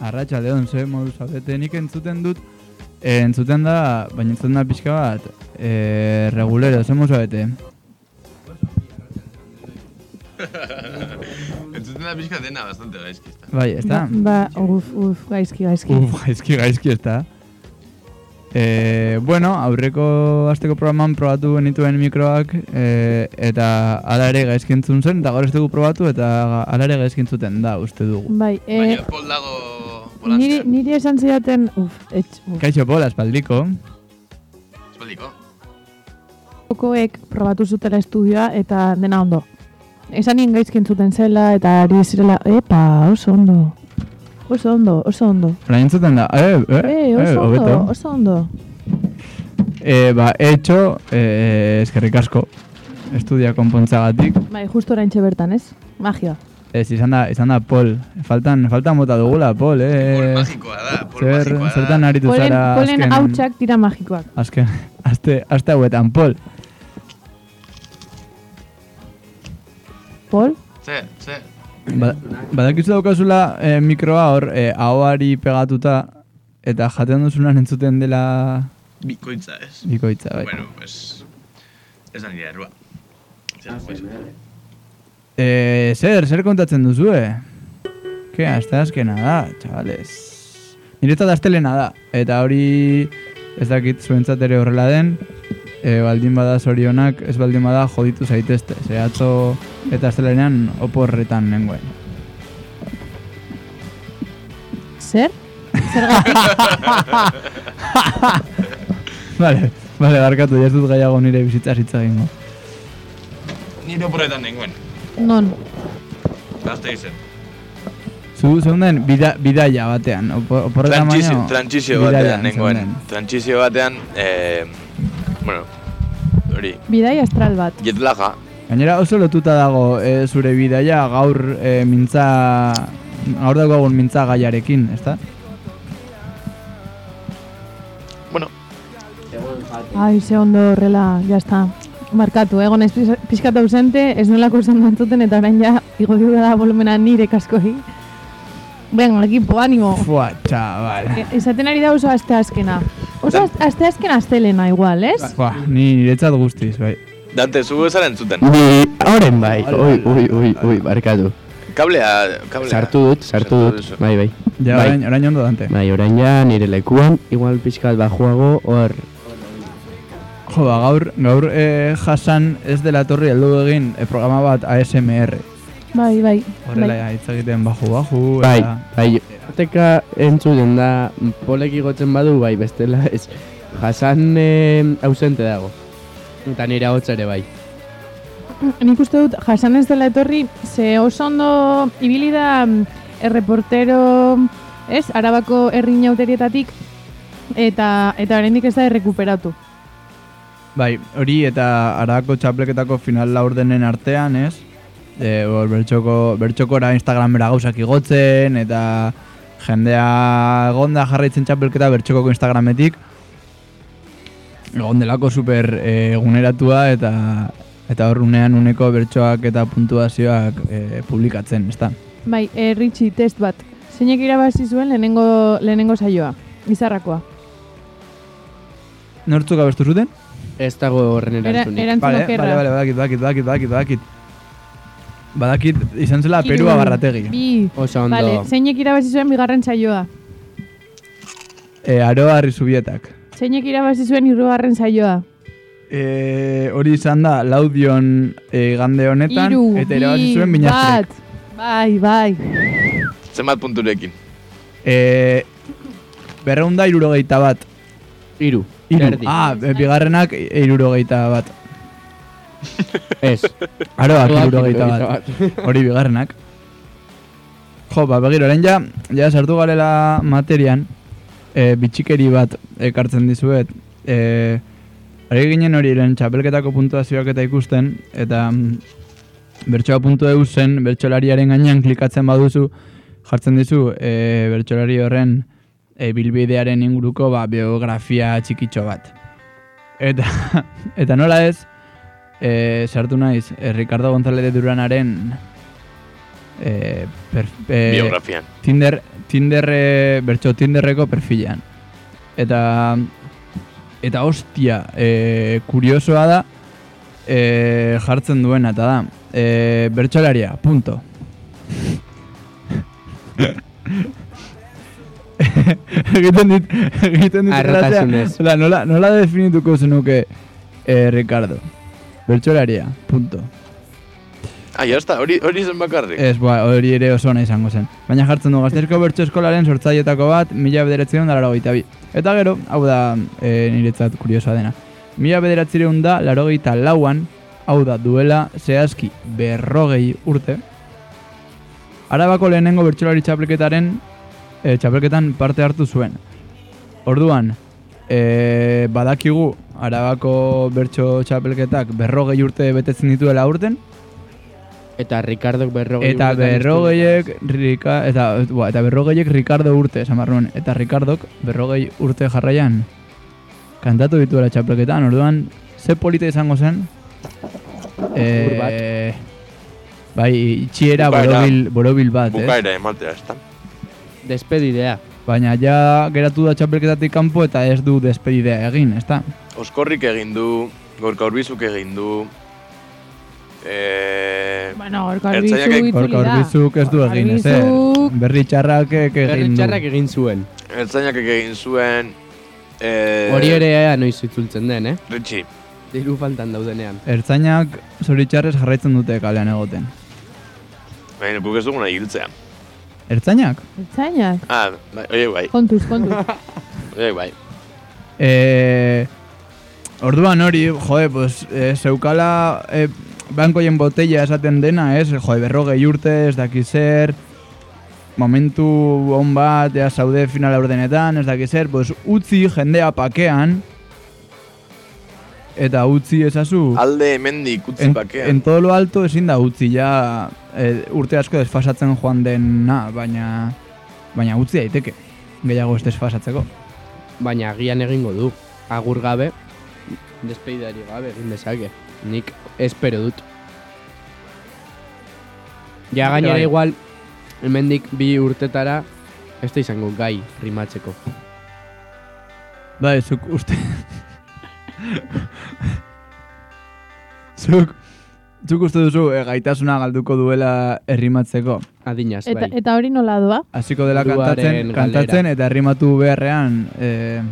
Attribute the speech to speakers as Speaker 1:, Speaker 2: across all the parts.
Speaker 1: arratsaldeon ze modu zaudete nik entzuten dut e, entzuten da, baina entzuten da pixka bat e, regulero, ze modu zaudete
Speaker 2: Entzuten da pixka dena bastante gaizki, ezta?
Speaker 1: bai, ez da?
Speaker 3: Ba, ba, uf, uf, gaizki, gaizki.
Speaker 1: Uf, gaizki, gaizki ez da E, bueno, aurreko asteko programan probatu genituen mikroak e, eta ala ere gaizki entzun zen eta gaur ez dugu probatu eta ala ere gaizki entzuten da uste dugu.
Speaker 3: Bai, e,
Speaker 2: Baina Pol dago
Speaker 3: niri,
Speaker 2: Polanskian,
Speaker 3: niri esan zidaten, uf, etx, uf,
Speaker 1: Kaixo bola, espaldiko.
Speaker 2: espaldiko.
Speaker 3: jokoek probatu zutela estudioa eta dena ondo. Esan nien gaizki entzuten zela eta ari zirela, epa, oso ondo, oso ondo, oso ondo.
Speaker 1: Orain entzuten da, e, e,
Speaker 3: Eh,
Speaker 1: e,
Speaker 3: oso ondo,
Speaker 1: hobeto.
Speaker 3: oso ondo.
Speaker 1: E, ba, etxo, e, eskerrik asko, estudia konpontzagatik.
Speaker 3: Bai, justo orain bertan, ez? Magia.
Speaker 1: Ez, izan da, izan da, Pol. Faltan, faltan bota dugula, Pol, eh.
Speaker 2: Pol magikoa da, pol
Speaker 1: Zer,
Speaker 2: magikoa da.
Speaker 1: zertan aritu
Speaker 3: Polen,
Speaker 1: zara
Speaker 3: polen
Speaker 1: azken...
Speaker 3: hautsak dira magikoak.
Speaker 1: Azken, azte, azte hauetan, Pol.
Speaker 3: Pol?
Speaker 2: Zer, zer.
Speaker 1: Ba, badakizu daukazula eh, mikroa hor, eh, ahoari pegatuta, eta jaten duzunan entzuten dela
Speaker 2: Bikoitza, ez?
Speaker 1: bikoitza, bai.
Speaker 2: Bueno, pues... Ez da nire errua. Zer, pues...
Speaker 1: Eh, zer, zer kontatzen duzue? Ke, azte azkena da, txabales. Niretzat astelena da, eta hori ez dakit zuentzat ere horrela den, e, baldin bada zorionak, ez baldin bada joditu zaitezte. Ze atzo eta astelenean oporretan nengoen.
Speaker 3: Zer?
Speaker 1: Bale, bale, barkatu, ez dut gaiago nire bizitza hitz egingo.
Speaker 2: Nire oporretan nengoen,
Speaker 3: Non.
Speaker 2: gazte izen.
Speaker 1: Zu, zeunden, bida, bidaia batean, opor, oporretan
Speaker 4: Trantzizio,
Speaker 1: baino...
Speaker 4: trantzizio
Speaker 1: bidaian
Speaker 4: batean nengoen.
Speaker 1: zeunden.
Speaker 4: Trantzizio batean, eh, bueno, hori,
Speaker 3: Bidai astral bat.
Speaker 4: jetlaga.
Speaker 1: Gainera oso lotuta dago e, zure bidaia gaur e, mintza gaur daukagun mintza gaiarekin, ezta?
Speaker 4: Bueno,
Speaker 3: Ai, ze ondo horrela, jazta. Markatu, eh, egon ez pis- pixkat ausente, ez nolako esan dantzuten eta orain ja igo da volumena nire kaskoi. Venga, equipo, ánimo.
Speaker 1: Fua, txabal.
Speaker 3: E- Esaten ari da oso aste azkena. Oso az- aste azkena astelena igual, ez?
Speaker 1: Fua, ni niretzat guztiz, bai.
Speaker 4: Dante, zu zara entzuten.
Speaker 5: Ni hauren bai, oi, oi, oi, oi, barkatu.
Speaker 4: Kablea, kablea.
Speaker 5: Sartu dut, sartu dut,
Speaker 4: duzu.
Speaker 5: bai, bai.
Speaker 1: Ja,
Speaker 5: Bai.
Speaker 1: orain, orain ondo dante.
Speaker 5: Bai, orain ja nire lekuan, igual pixkat bajuago, hor,
Speaker 1: Jo, ba, gaur, gaur e, jasan ez dela torri heldu egin e, programa bat ASMR.
Speaker 3: Bai, bai. bai.
Speaker 1: Horrela hitz egiten baju baju. eh.
Speaker 5: bai, bai, teka entzuten da, polek igotzen badu, bai, bestela ez, jasan eh, ausente dago. Eta nire hotz ere bai.
Speaker 3: Nik uste dut, jasan ez dela etorri, ze oso ondo ibili da mm, erreportero, ez, arabako herri nauterietatik, eta, eta oraindik ez da errekuperatu.
Speaker 1: Bai, hori eta arako txapleketako final laurdenen artean, ez? E, hor, bertxoko, bertxokora Instagramera gauzak igotzen, eta jendea gonda jarraitzen txapelketa bertxokoko Instagrametik. Gondelako super e, eguneratua eta eta hor unean uneko bertsoak eta puntuazioak e, publikatzen, ezta?
Speaker 3: Bai, e, Richie, test bat. Zeinek irabazi zuen lehenengo, lehenengo saioa, izarrakoa.
Speaker 1: Nortzuk abestu zuten?
Speaker 5: Ez dago horren
Speaker 3: Era,
Speaker 5: erantzunik.
Speaker 3: erantzun
Speaker 1: Bale,
Speaker 3: okerra.
Speaker 1: bale, bale, badakit, badakit, badakit, badakit, badakit. Badakit, izan zela
Speaker 3: Hiru,
Speaker 1: Ah, Perua barrategi.
Speaker 3: Bi.
Speaker 5: Oso ondo. Eh,
Speaker 3: Vale, zeinek irabazi zuen bigarren saioa.
Speaker 1: E, aroa Arrizubietak.
Speaker 3: Zeinek irabazi zuen hirugarren saioa.
Speaker 1: E, hori izan da, laudion e, gande honetan,
Speaker 3: Hiru,
Speaker 1: eta
Speaker 3: bi,
Speaker 1: irabazi zuen binastrek.
Speaker 3: bat. Bai, bai.
Speaker 4: Zenbat punturekin.
Speaker 1: E, berreunda irurogeita bat.
Speaker 5: Iru,
Speaker 1: Hiru.
Speaker 5: erdi.
Speaker 1: Ah, e, bigarrenak e, irurogeita bat.
Speaker 5: Ez.
Speaker 1: Aroak
Speaker 5: Hiruak
Speaker 1: irurogeita bat. Hori bigarrenak. Jo, ba, begiro, orain ja, ja sartu garela materian, e, bitxikeri bat ekartzen dizuet. E, ari ginen hori lehen txapelketako puntuazioak eta ikusten, eta mm, bertsoa.eu zen, bertsolariaren gainean klikatzen baduzu, jartzen dizu e, bertsolari horren e, bilbidearen inguruko ba, biografia txikitxo bat. Eta, eta nola eh, ez, e, sartu naiz, e, Ricardo González de Duranaren eh, per, eh,
Speaker 4: Biografian.
Speaker 1: Tinder, Tinder, eh, bertso Tinderreko perfilean. Eta, eta hostia, e, kuriosoa da, e, jartzen duena, eta da, e, bertsolaria, punto. egiten dit, egiten dit grazia.
Speaker 5: Harrotasunez.
Speaker 1: Ola, nola, nola definituko zenuke, eh, Ricardo? Bertsolaria, punto.
Speaker 4: Ah, jazta, hori, hori zen bakarrik.
Speaker 1: Ez, ba, hori ere oso ona izango zen. Baina jartzen du Gasteizko Bertso Eskolaren sortzaileetako bat, mila bederatzen da laurogeita bi. Eta gero, hau da e, niretzat kuriosoa dena. Mila bederatzen da laurogeita lauan, hau da duela zehazki berrogei urte, Arabako lehenengo bertsolari txapelketaren e, txapelketan parte hartu zuen. Orduan, e, badakigu Arabako bertso txapelketak berrogei urte betetzen dituela urten,
Speaker 5: Eta Ricardok berrogei.
Speaker 1: Eta
Speaker 5: urtetan
Speaker 1: berrogeiek, Rika, eta, bua, eta berrogeiek Ricardo urte, esan behar nuen. Eta Ricardok berrogei urte jarraian kantatu dituela txapelketan, orduan, ze polita izango zen?
Speaker 5: Ur bat.
Speaker 1: Eh, bai, itxiera
Speaker 4: Bukaera.
Speaker 1: borobil, borobil bat, eh?
Speaker 4: Bukaera ematea, ez da?
Speaker 5: Despedidea.
Speaker 1: Baina ja geratu da txapelketatik kanpo eta ez du despedidea egin, ezta?
Speaker 4: Oskorrik egin du, gorka urbizuk egin du, eh,
Speaker 3: Bueno, gorka horbizu
Speaker 4: Ertzainak-
Speaker 3: itzuli da.
Speaker 1: Gorka Orbizuk ez du
Speaker 3: Gorka
Speaker 1: egin, ez, eh?
Speaker 3: Orbizuk,
Speaker 1: Berri txarrak eh, que
Speaker 5: Berri
Speaker 1: egin du.
Speaker 5: txarrak egin zuen.
Speaker 4: ertzainak egin zuen, eh,
Speaker 5: Hori ere ea noiz itzultzen den, eh?
Speaker 4: Ritxi,
Speaker 5: Diru faltan daudenean.
Speaker 1: eh, Ertzainak zoritxarrez jarraitzen dute kalean egoten.
Speaker 4: baina guk ez duguna hiltzea.
Speaker 1: Ertzainak?
Speaker 3: Ertzainak.
Speaker 4: Ah, bai, oie bai,
Speaker 3: Kontuz, kontuz.
Speaker 4: oie bai.
Speaker 1: Eh, orduan hori, jode, pues, eh, zeukala eh, bankoien botella esaten dena, ez? Jode, berrogei urte, ez dakiz zer, momentu on bat, ea zaude finala urdenetan, ez dakiz zer, pues, utzi jendea pakean, eta utzi ezazu...
Speaker 4: Alde hemendik utzi
Speaker 1: En, en
Speaker 4: bakean.
Speaker 1: todo lo alto ezin da utzi ja eh, urte asko desfasatzen joan dena, baina baina utzi daiteke. Gehiago ez desfasatzeko.
Speaker 5: Baina agian egingo du. Agur gabe, despedidari gabe egin dezake. Nik espero dut. Ja
Speaker 1: Bai,
Speaker 5: gainera
Speaker 1: bai.
Speaker 5: igual, hemendik bi urtetara, ez da izango gai rimatzeko.
Speaker 1: Bai, zuk uste... zuk, zuk uste duzu eh, gaitasuna galduko duela errimatzeko.
Speaker 5: Adinaz,
Speaker 3: eta,
Speaker 5: bai.
Speaker 3: eta hori nola doa?
Speaker 1: Hasiko dela
Speaker 5: Buruaren
Speaker 1: kantatzen,
Speaker 5: galdera.
Speaker 1: kantatzen eta errimatu beharrean... Eh,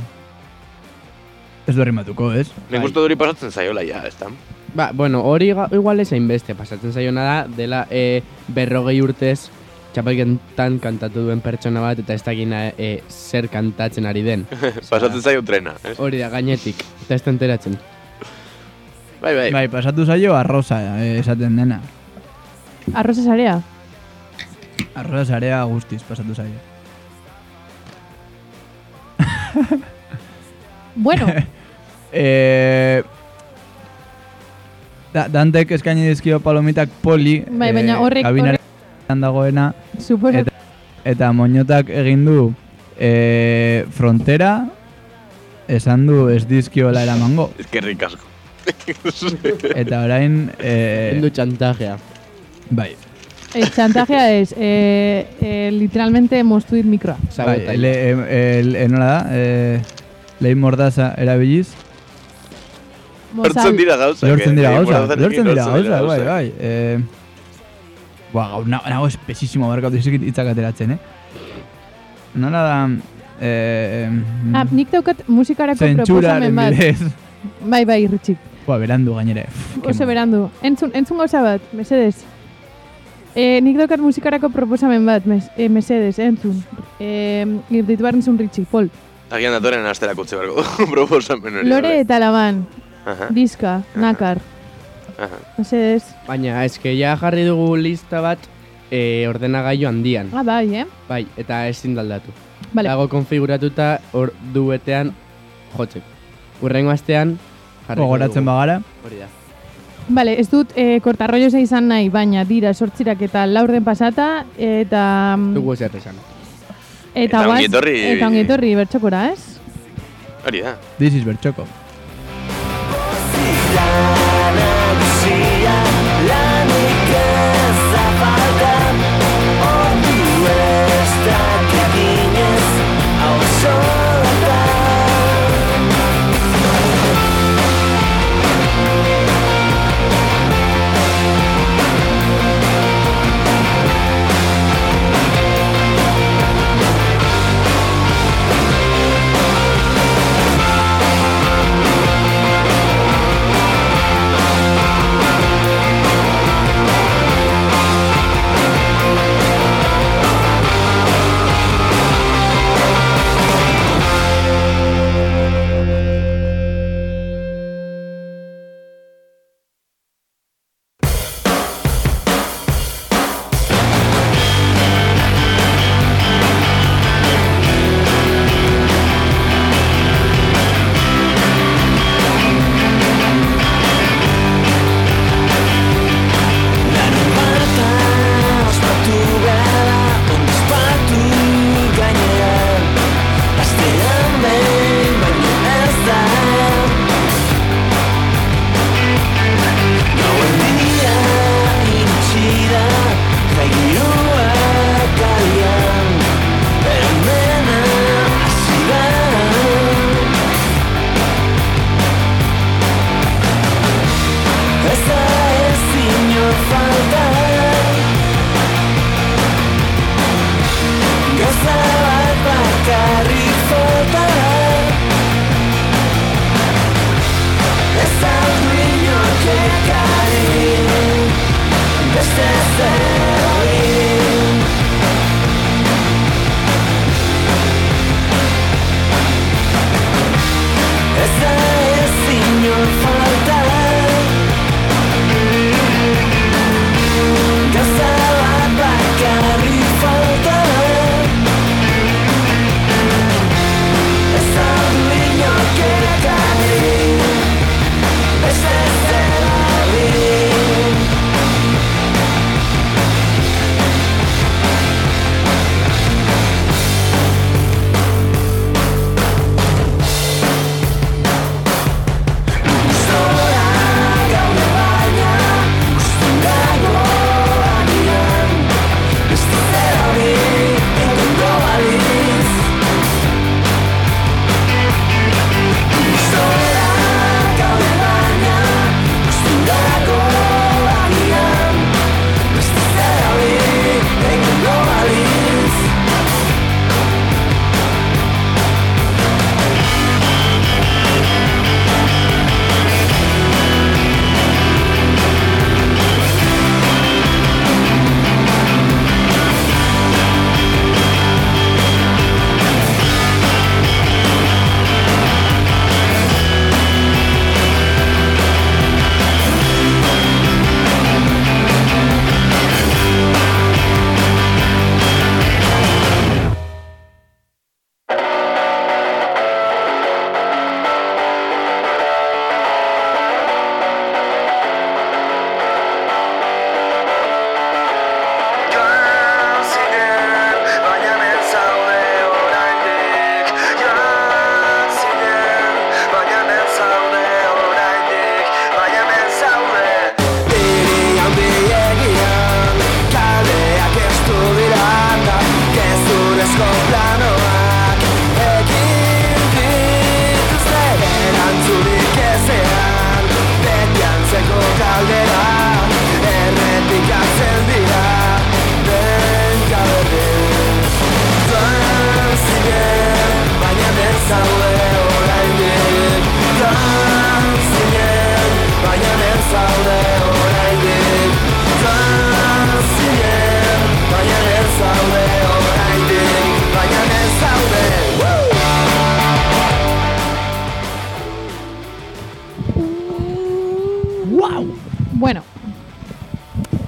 Speaker 1: ez du errimatuko, ez?
Speaker 4: Nik
Speaker 5: bai.
Speaker 4: uste hori pasatzen zaiola, ja, ez da?
Speaker 5: Ba, bueno, hori ga- igual ez hainbeste, pasatzen zaiona da, dela e, berrogei urtez, txapelketan kantatu duen pertsona bat, eta ez dakina e, zer kantatzen ari den.
Speaker 4: Pasatzen zaio trena, ez?
Speaker 5: Hori da, gainetik, eta ez da enteratzen.
Speaker 4: Bai, bai,
Speaker 1: Bai, pasatu zaio arroza eh, esaten dena.
Speaker 3: Arroza sarea.
Speaker 1: Arroza sarea guztiz pasatu zaio.
Speaker 3: Bueno,
Speaker 1: Eh, da, Dantek eskaini dizkio palomitak poli.
Speaker 3: Bai, baina horrek-
Speaker 1: kabinaren dagoena.
Speaker 3: suposo...
Speaker 1: Eta- Eta moñotak egin du e, frontera, esan du ez dizkiola eramango.
Speaker 4: eskerrik asko.
Speaker 1: Eta orain,
Speaker 5: Eh. du
Speaker 1: e,
Speaker 5: txantajea.
Speaker 1: bai,
Speaker 3: El chantajea es, eh, eh, literalmente, moztu dit mikroa.
Speaker 1: bai
Speaker 5: Sabotaia.
Speaker 1: le, e, e, e, nola da, e, lehin mordaza erabiliz,
Speaker 4: Lortzen dira gauzak,
Speaker 1: lortzen
Speaker 4: eh?
Speaker 1: dira
Speaker 4: Eh,
Speaker 1: gauza,
Speaker 4: moralzarekin
Speaker 1: lortzen dira
Speaker 4: lortzen
Speaker 1: gauza, bai,
Speaker 4: gauzak.
Speaker 1: bai. E, Boa, gau, na- nago espesísimo barkatu izakit hitzak ateratzen, eh? Nola da, e,
Speaker 3: Ah, nik daukat musikarako
Speaker 1: zentsuraren
Speaker 3: proposamen bat.
Speaker 1: bidez.
Speaker 3: Bai, bai, Ritxik.
Speaker 1: Boa, berandu gainera. eh, pff, que
Speaker 3: Oso
Speaker 1: mal.
Speaker 3: berandu. Entzun, entzun gauza bat, mesedez. Eh, nik daukat musikarako proposamen bat, mes, eh, mesedez, entzun. Eh, ditu behar nizun Ritxik, Pol.
Speaker 4: Agian datoren astera kutze barko du, proposamen hori.
Speaker 3: Lore eta laban,
Speaker 4: bai. Aha,
Speaker 3: diska, nakar.
Speaker 4: aha.
Speaker 3: Mesedez.
Speaker 5: Baina, eske ja jarri dugu lista bat, e, ordenagailu handian.
Speaker 3: Ah, bai, eh?
Speaker 5: Bai, eta ezin daldatu.
Speaker 3: Vale.
Speaker 5: Dago konfiguratuta hor duetean jotzek. Urrengo astean, jarri
Speaker 1: Gogoratzen bagara.
Speaker 5: Hori da.
Speaker 3: Vale, ez dut eh, kortarroioza izan nahi, baina dira sortzirak eta laurden pasata, eta...
Speaker 5: Dugu ezer esan.
Speaker 3: Eta,
Speaker 4: Eta
Speaker 3: guaz-
Speaker 4: ongi etorri.
Speaker 3: Eta ongi etorri bertxokora, ez?
Speaker 4: Hori da.
Speaker 1: This is Bertxoko.
Speaker 6: Lanik ez zapaldan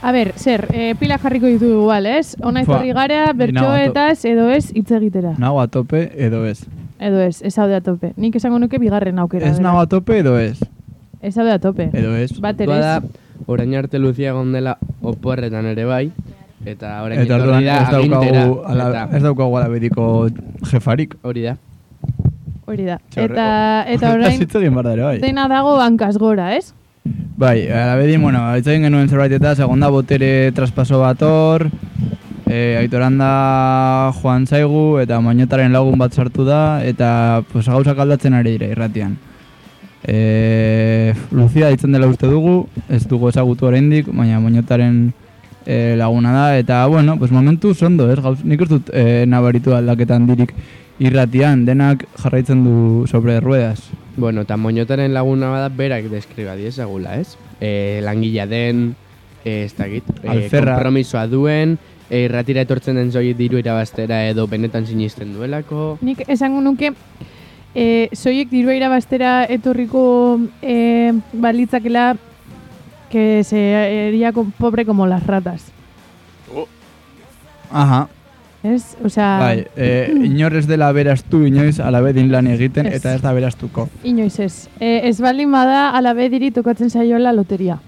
Speaker 3: A ber, zer, e, pila jarriko ditu igual, ez? Ona
Speaker 1: Fua,
Speaker 3: etorri gara,
Speaker 1: ni nago ato-
Speaker 3: bertsoetaz, edo ez, hitz egitera.
Speaker 1: Nago a tope edo ez.
Speaker 3: Edo ez, ez hau da tope. Nik esango nuke bigarren aukera.
Speaker 1: Ez
Speaker 3: beraz.
Speaker 1: nago a tope edo ez.
Speaker 3: Ez hau da tope.
Speaker 1: Edo ez.
Speaker 3: Bat ere
Speaker 5: Kontua da,
Speaker 3: ez.
Speaker 5: orain arte Lucia gondela oporretan ere bai, eta orain
Speaker 1: Eta
Speaker 5: etorri
Speaker 1: orduan
Speaker 5: da
Speaker 1: ez daukagu,
Speaker 5: agintera,
Speaker 1: ala,
Speaker 5: eta
Speaker 1: ez daukagu alabediko jefarik.
Speaker 5: hori da.
Speaker 3: Hori da.
Speaker 1: Txarre-
Speaker 3: Eta, eta
Speaker 1: Horretaz
Speaker 3: orain,
Speaker 1: hitz egin behar da ere, bai.
Speaker 3: dena dago hankaz gora, ez?
Speaker 1: Bai, alabedin, bueno, hitz egin genuen zerbait eta segunda botere traspaso bat hor, e, aitoranda joan zaigu, eta mainotaren lagun bat sartu da, eta pues, gauzak aldatzen ari dira irratian. E, Lucia ditzen dela uste dugu, ez dugu ezagutu oraindik, baina mainotaren e, laguna da, eta bueno, pues momentu ondo, ez, gauz, nik ez dut e, nabaritu aldaketan dirik irratian, denak jarraitzen du sobre ruedas.
Speaker 5: Bueno, eta moñotaren laguna bada berak deskriba diezagula, ez? E, langila den, e, ez dakit, e,
Speaker 1: Alferra.
Speaker 5: kompromisoa duen, e, irratira etortzen den zoiet diru irabaztera edo benetan sinisten duelako.
Speaker 3: Nik esango nuke, e, soiek dirua irabaztera etorriko e, balitzakela que se haría co- pobre como las ratas.
Speaker 1: Aha,
Speaker 3: Ez? Osea,
Speaker 1: Bai, e, inor ez dela beraztu inoiz alabedin lan egiten
Speaker 3: Ez.
Speaker 1: eta ez da beraztuko.
Speaker 3: inoiz ez. E, ez baldin bada, alabe diri tokatzen saiola loteria.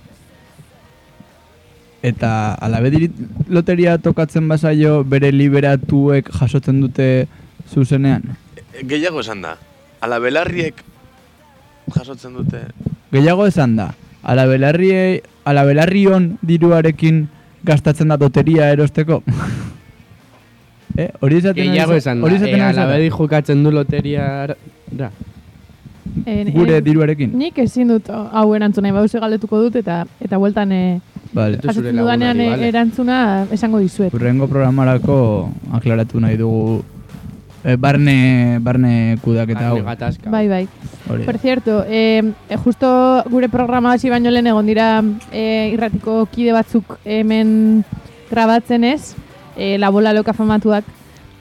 Speaker 1: Eta alabediri loteria tokatzen bazaio bere liberatuek jasotzen dute zuzenean.
Speaker 4: Gehiago esan da. Ala belarriek jasotzen dute.
Speaker 1: Gehiago esan da, alabelarri, alabelarrion diruarekin gastatzen da loteria erosteko. eh, hori esaten ari
Speaker 5: Gehiago
Speaker 1: za-
Speaker 5: esan da,
Speaker 1: hori
Speaker 5: e,
Speaker 1: esaten ari zara?
Speaker 5: alabedi jokatzen du loteria... Da.
Speaker 3: E,
Speaker 1: Gure
Speaker 3: e,
Speaker 1: diruarekin.
Speaker 3: Nik ezin dut hau erantzuna, bauze galdetuko dut eta eta bueltan e,
Speaker 1: Vale.
Speaker 5: Zure
Speaker 3: jasotzen
Speaker 5: lagunari,
Speaker 3: dudanean e,
Speaker 1: eh?
Speaker 5: bale.
Speaker 3: erantzuna esango dizuet.
Speaker 1: Urrengo programarako aklaratu nahi dugu eh, barne, barne kudaketa hau.
Speaker 5: Barne gatazka.
Speaker 3: Bai, bai.
Speaker 1: Hori da.
Speaker 3: Por cierto, eh, justo gure programa hasi baino lehen egon dira eh, irratiko kide batzuk hemen grabatzen ez, eh, la bola loka famatuak.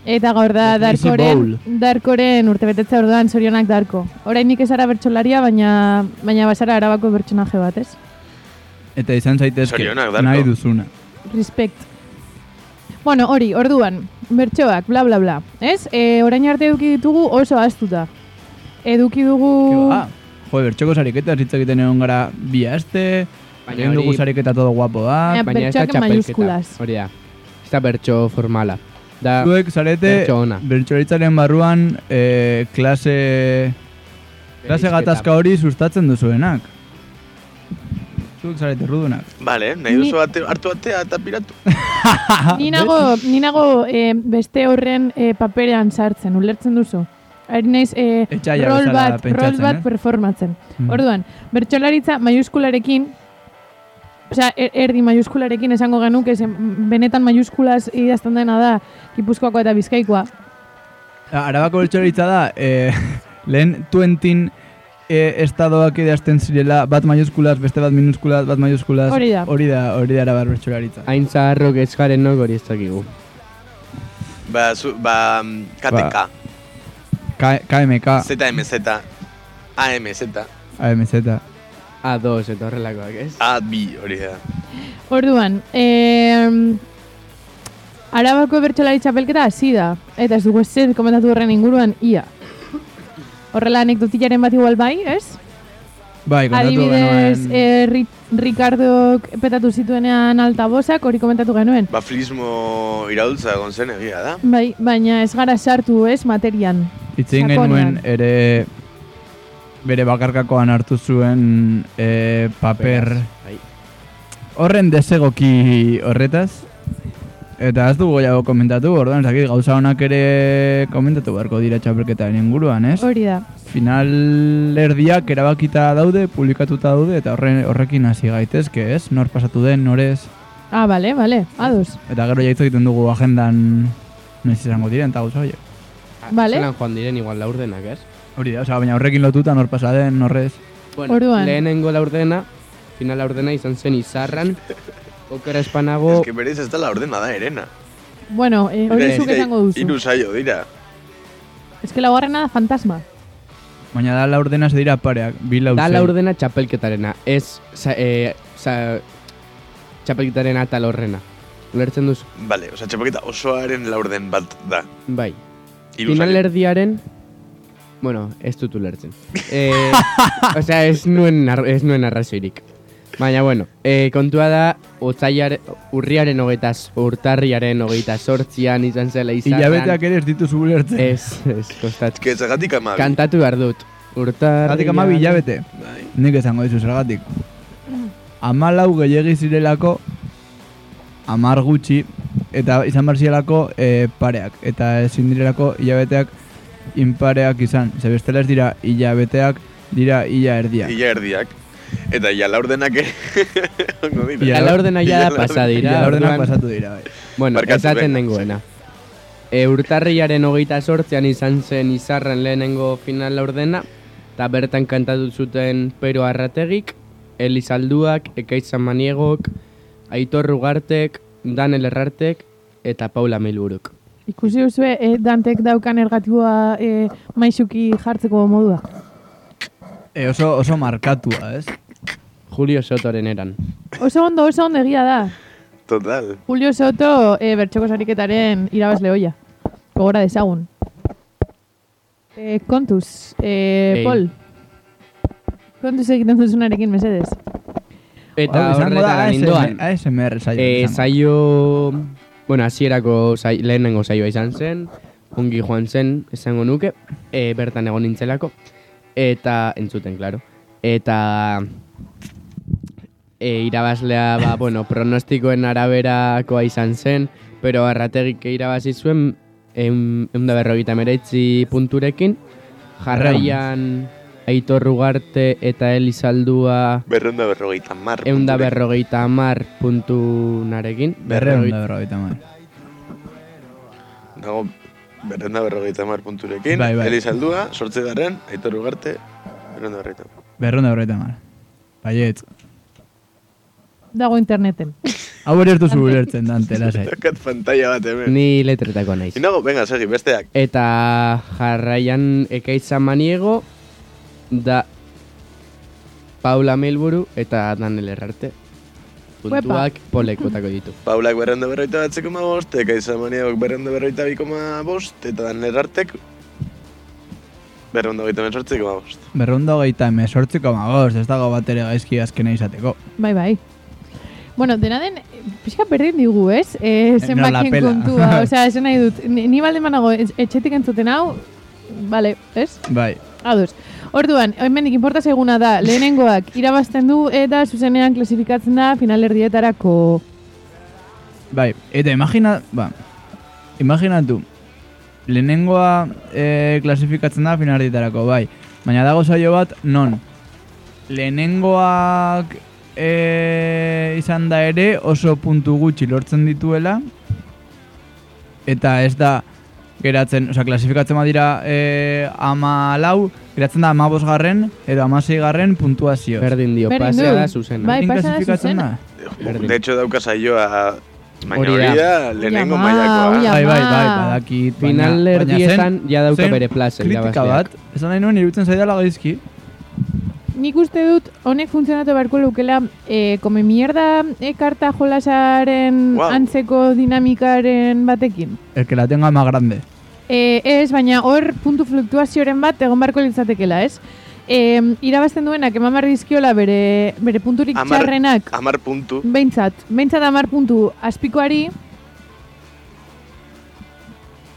Speaker 3: Eta gaur da
Speaker 1: The Crazy
Speaker 3: Darkoren,
Speaker 1: Bowl.
Speaker 3: Darkoren urtebetetze orduan sorionak Darko. Oraindik ez ara bertsolaria, baina baina basara arabako bertsonaje bat, ez?
Speaker 1: Eta izan zaitezke,
Speaker 4: Zorionak, Darko.
Speaker 1: nahi duzuna.
Speaker 3: Respect. Bueno, hori, orduan, bertsoak, bla bla bla, ez? Eh, orain arte eduki ditugu oso astuta. Eduki dugu...
Speaker 1: Ah, jo, bertxoko sariketa, hitz egiten egon gara bi aste,
Speaker 5: Baina
Speaker 1: egin dugu
Speaker 5: hori-
Speaker 1: sariketa todo guapoa.
Speaker 3: Eh,
Speaker 5: Baina ez
Speaker 3: Bertsoak
Speaker 5: da
Speaker 3: en
Speaker 5: txapelketa.
Speaker 3: mayúsculas.
Speaker 5: Hori da. Ez da bertso formala. Da,
Speaker 1: Zuek zarete
Speaker 5: bertso ona.
Speaker 1: bertsolaritzaren barruan eh, klase, klase gatazka hori sustatzen duzuenak. Zuek zarete rudunak.
Speaker 4: Vale, nahi
Speaker 3: Ni-
Speaker 4: duzu ate, hartu atea eta piratu.
Speaker 3: Ni nago, ni nago eh, beste horren eh, paperean sartzen, ulertzen duzu. Ari naiz eh,
Speaker 1: Etxaia
Speaker 3: rol
Speaker 1: bezala
Speaker 3: bat,
Speaker 1: pentsatzen,
Speaker 3: rol bat
Speaker 1: eh?
Speaker 3: performatzen.
Speaker 1: Mm.
Speaker 3: Orduan, bertsolaritza maiuskularekin, osea, er- erdi maiuskularekin esango genuke, ze benetan maiuskulaz idazten dena da, Gipuzkoakoa eta Bizkaikoa.
Speaker 1: A- Arabako bertsolaritza da, eh, lehen tuentin eh, estadoak idazten zirela, bat maiuskulaz, beste bat minuskulaz, bat maiuskulaz.
Speaker 3: Hori da.
Speaker 1: Hori da, hori da arabar bertsolaritza.
Speaker 5: Hain zaharrok ez garenok hori ez dakigu.
Speaker 4: Ba, zu, ba, mm, KTK,
Speaker 1: K- KMK,
Speaker 4: ZMZ, AMZ,
Speaker 1: AMZ.
Speaker 5: A2 eta horrelakoak, ez?
Speaker 4: AB hori da.
Speaker 3: Orduan, eh, Arabako bertsolari txapelketa hasi da, eta ez dugu ezer komentatu horren inguruan, ia. Horrela anekdotillaren bat igual bai, ez?
Speaker 1: Bai, kontatu
Speaker 3: Adibidez,
Speaker 1: genuen-
Speaker 3: eh, Ri- Ricardok petatu zituenean altabozak, hori komentatu genuen.
Speaker 4: Ba, flismo iraultza egon zen egia da.
Speaker 3: Bai, baina ez gara sartu ez materian.
Speaker 1: Hitz egin
Speaker 3: Sakonean.
Speaker 1: genuen ere bere bakarkakoan hartu zuen e, paper
Speaker 5: Bai.
Speaker 1: horren desegoki horretaz. Eta ez dugu gehiago komentatu, orduan, ez dakit, gauza honak ere komentatu beharko dira txapelketaren inguruan, ez?
Speaker 3: Hori da.
Speaker 1: Final erdiak erabakita daude, publikatuta daude, eta horren, horrekin hasi gaitezke, ez? Nor pasatu den, norez,
Speaker 3: Ah, bale, bale, ados.
Speaker 1: eta gero jaitz egiten dugu agendan noiz izango diren, eta gauza horiek.
Speaker 5: Ah,
Speaker 3: Vale.
Speaker 5: zelan joan diren igual laurdenak, ez?
Speaker 1: Hori da, osea, baina horrekin lotuta nor pasa den, norrez.
Speaker 5: Bueno,
Speaker 3: Orduan.
Speaker 5: lehenengo laurdena, final laurdena izan zen izarran, okera espanago,
Speaker 4: Ez que berez ez dela ordena da erena.
Speaker 3: Bueno, eh, hori
Speaker 4: Ira,
Speaker 3: zuk
Speaker 4: ira,
Speaker 3: esango duzu.
Speaker 4: Hiru saio dira.
Speaker 3: Ez que laugarrena da fantasma.
Speaker 1: Baina da laurdena se dira pareak, bi lau
Speaker 5: da
Speaker 1: sei.
Speaker 5: laurdena e, txapelketarena, ez sa, eh, sa, txapelketaren atal horrena. Ulertzen duzu?
Speaker 4: Bale, osea, txapelketa osoaren laurden bat da.
Speaker 5: Bai.
Speaker 4: Hiru saio.
Speaker 5: Finalerdiaren... Bueno, ez dut ulertzen. Eh, osea, ez nuen, ar- ez nuen arrazoirik. Baina, bueno, eh, kontua da, otzaiar, urriaren hogeita, z- urtarriaren hogeita sortzian izan zela izan.
Speaker 1: Hilabeteak ere ez dituzu ulertzen.
Speaker 5: Ez, ez, kostatu.
Speaker 4: Que zergatik amabi.
Speaker 5: Kantatu behar dut. Urtarriaren...
Speaker 1: Zergatik ama hilabete.
Speaker 4: Bai.
Speaker 1: Nik esango dizu zergatik. Amalau gehiagi zirelako, amar gutxi, eta izan behar zirelako eh, pareak. Eta ezin direlako hilabeteak inpareak izan. Ze bestela ez dira hilabeteak, dira hila erdiak.
Speaker 4: Ia erdiak. Eta ia laurdenak ere. Ongo dira.
Speaker 1: Ia-
Speaker 5: Eta la ordena
Speaker 4: Ia
Speaker 5: ya
Speaker 4: la-
Speaker 5: pasadira.
Speaker 1: Hila ordenak
Speaker 5: orduan-
Speaker 1: pasatu dira, bai.
Speaker 5: Bueno,
Speaker 4: Barkatu,
Speaker 5: esaten
Speaker 4: venga,
Speaker 5: nengoena. E, urtarriaren hogeita sortzean izan zen izarren lehenengo final ordena, eta bertan kantatu zuten Pero Arrategik, Elizalduak, Ekaitza Maniegok, Aitor Rugartek, Danel Errartek, eta Paula Milburuk.
Speaker 3: Ikusi duzue eh, Dantek daukan ergatua eh, maisuki jartzeko modua.
Speaker 1: E, oso, oso markatua, ez?
Speaker 5: Julio Sotoren eran.
Speaker 3: Oso ondo, oso ondo egia da.
Speaker 4: Total.
Speaker 3: Julio Soto eh, bertxoko sariketaren irabazle hoia. Gogora dezagun. Eh, kontuz, eh,
Speaker 5: Ei.
Speaker 3: Pol. Kontuz egiten duzunarekin mesedez.
Speaker 5: Eta
Speaker 1: Hau izango da
Speaker 5: horretara nindoan.
Speaker 1: ASMR saio.
Speaker 5: E,
Speaker 1: izango.
Speaker 5: zaio, bueno, hasierako zai, lehenengo zaioa izan zen, ongi joan zen, esango nuke, e, bertan egon nintzelako, eta entzuten, claro. Eta e, irabazlea, ba, bueno, pronostikoen araberakoa izan zen, pero arrategik irabazi zuen, eun eun da berrogeita meretzi punturekin, jarraian Aitor Rugarte eta Elizaldua
Speaker 4: Berrenda berrogeita mar.
Speaker 5: eunda berrogeita amar puntunarekin.
Speaker 1: Berreun da berrogeita hamar.
Speaker 4: Dago berrenda berrogeita mar punturekin.
Speaker 1: Bai, bai.
Speaker 4: Elizaldua, sortze garren, Aitor Ugarte, berrenda berrogeita hamar.
Speaker 1: Berreun da berrogeita hamar. Bai, Baietz.
Speaker 3: Dago interneten.
Speaker 1: Hau ere ez duzu ulertzen, Dante, lasai.
Speaker 4: Daukat pantalla bat hemen.
Speaker 5: Ni letretako naiz.
Speaker 4: Inago, venga, segi, besteak.
Speaker 5: Eta jarraian ekaitza maniego da Paula Melburu eta Daniel Errarte. Puntuak polekotako ditu.
Speaker 4: Paulak berrenda berrogeita bat zekoma bost, eka izamaniak berrenda berrogeita bikoma bost, eta dan lerartek berrenda berrogeita mensortzi koma bost.
Speaker 1: Berreun da hogeita emezortzi koma bost, ez dago bat ere gaizki azkena izateko.
Speaker 3: Bai, bai. Bueno, dena den, eh, pixka berdin digu, ez? E, zenbakien
Speaker 1: pela.
Speaker 3: kontua, osea, esan nahi dut. Ni, ni balde manago etxetik entzuten hau, bale, ez?
Speaker 1: Bai,
Speaker 3: Ados. Orduan, hemendik inporta seguna da, lehenengoak irabazten du eta zuzenean klasifikatzen da finalerdietarako.
Speaker 1: bai. Eta imagina, ba, imaginatu, lehenengoa e, klasifikatzen da finaldietarako, bai. Baina dago saio bat, non. Lehenengoak e, izan da ere oso puntu gutxi lortzen dituela. Eta ez da geratzen, osea, klasifikatzen badira e, ama lau, geratzen da ama bosgarren edo ama seigarren puntuazio.
Speaker 5: Berdin dio,
Speaker 3: Berdin
Speaker 5: pasea
Speaker 3: du.
Speaker 5: da zuzena.
Speaker 3: Bai, pasa da zuzena.
Speaker 1: da?
Speaker 5: Berdin.
Speaker 4: De hecho, dauka saioa baina
Speaker 5: Hori da.
Speaker 4: hori da lehenengo
Speaker 3: Ui, ama, ui,
Speaker 4: mailakoa.
Speaker 3: ama.
Speaker 1: Bai, bai, bai, badakit. baina- baina
Speaker 5: Finalerdietan
Speaker 1: zen
Speaker 5: ja dauka
Speaker 1: zen
Speaker 5: bere plaza
Speaker 1: Kritika
Speaker 5: irabazleak.
Speaker 1: bat, esan nahi nuen irutzen zaidala gaizki.
Speaker 3: Nik uste dut, honek funtzionatu beharko lukela, e, come mierda e, karta jolasaren
Speaker 4: Wow.
Speaker 3: antzeko dinamikaren batekin.
Speaker 1: El que la tenga más grande.
Speaker 3: E, ez, baina hor puntu fluktuazioren bat egon beharko litzatekeela, ez? E, irabazten duenak eman behar dizkiola bere, bere punturik
Speaker 4: Hamar-
Speaker 3: txarrenak,
Speaker 4: Amar puntu.
Speaker 3: behintzat, behintzat amar puntu azpikoari,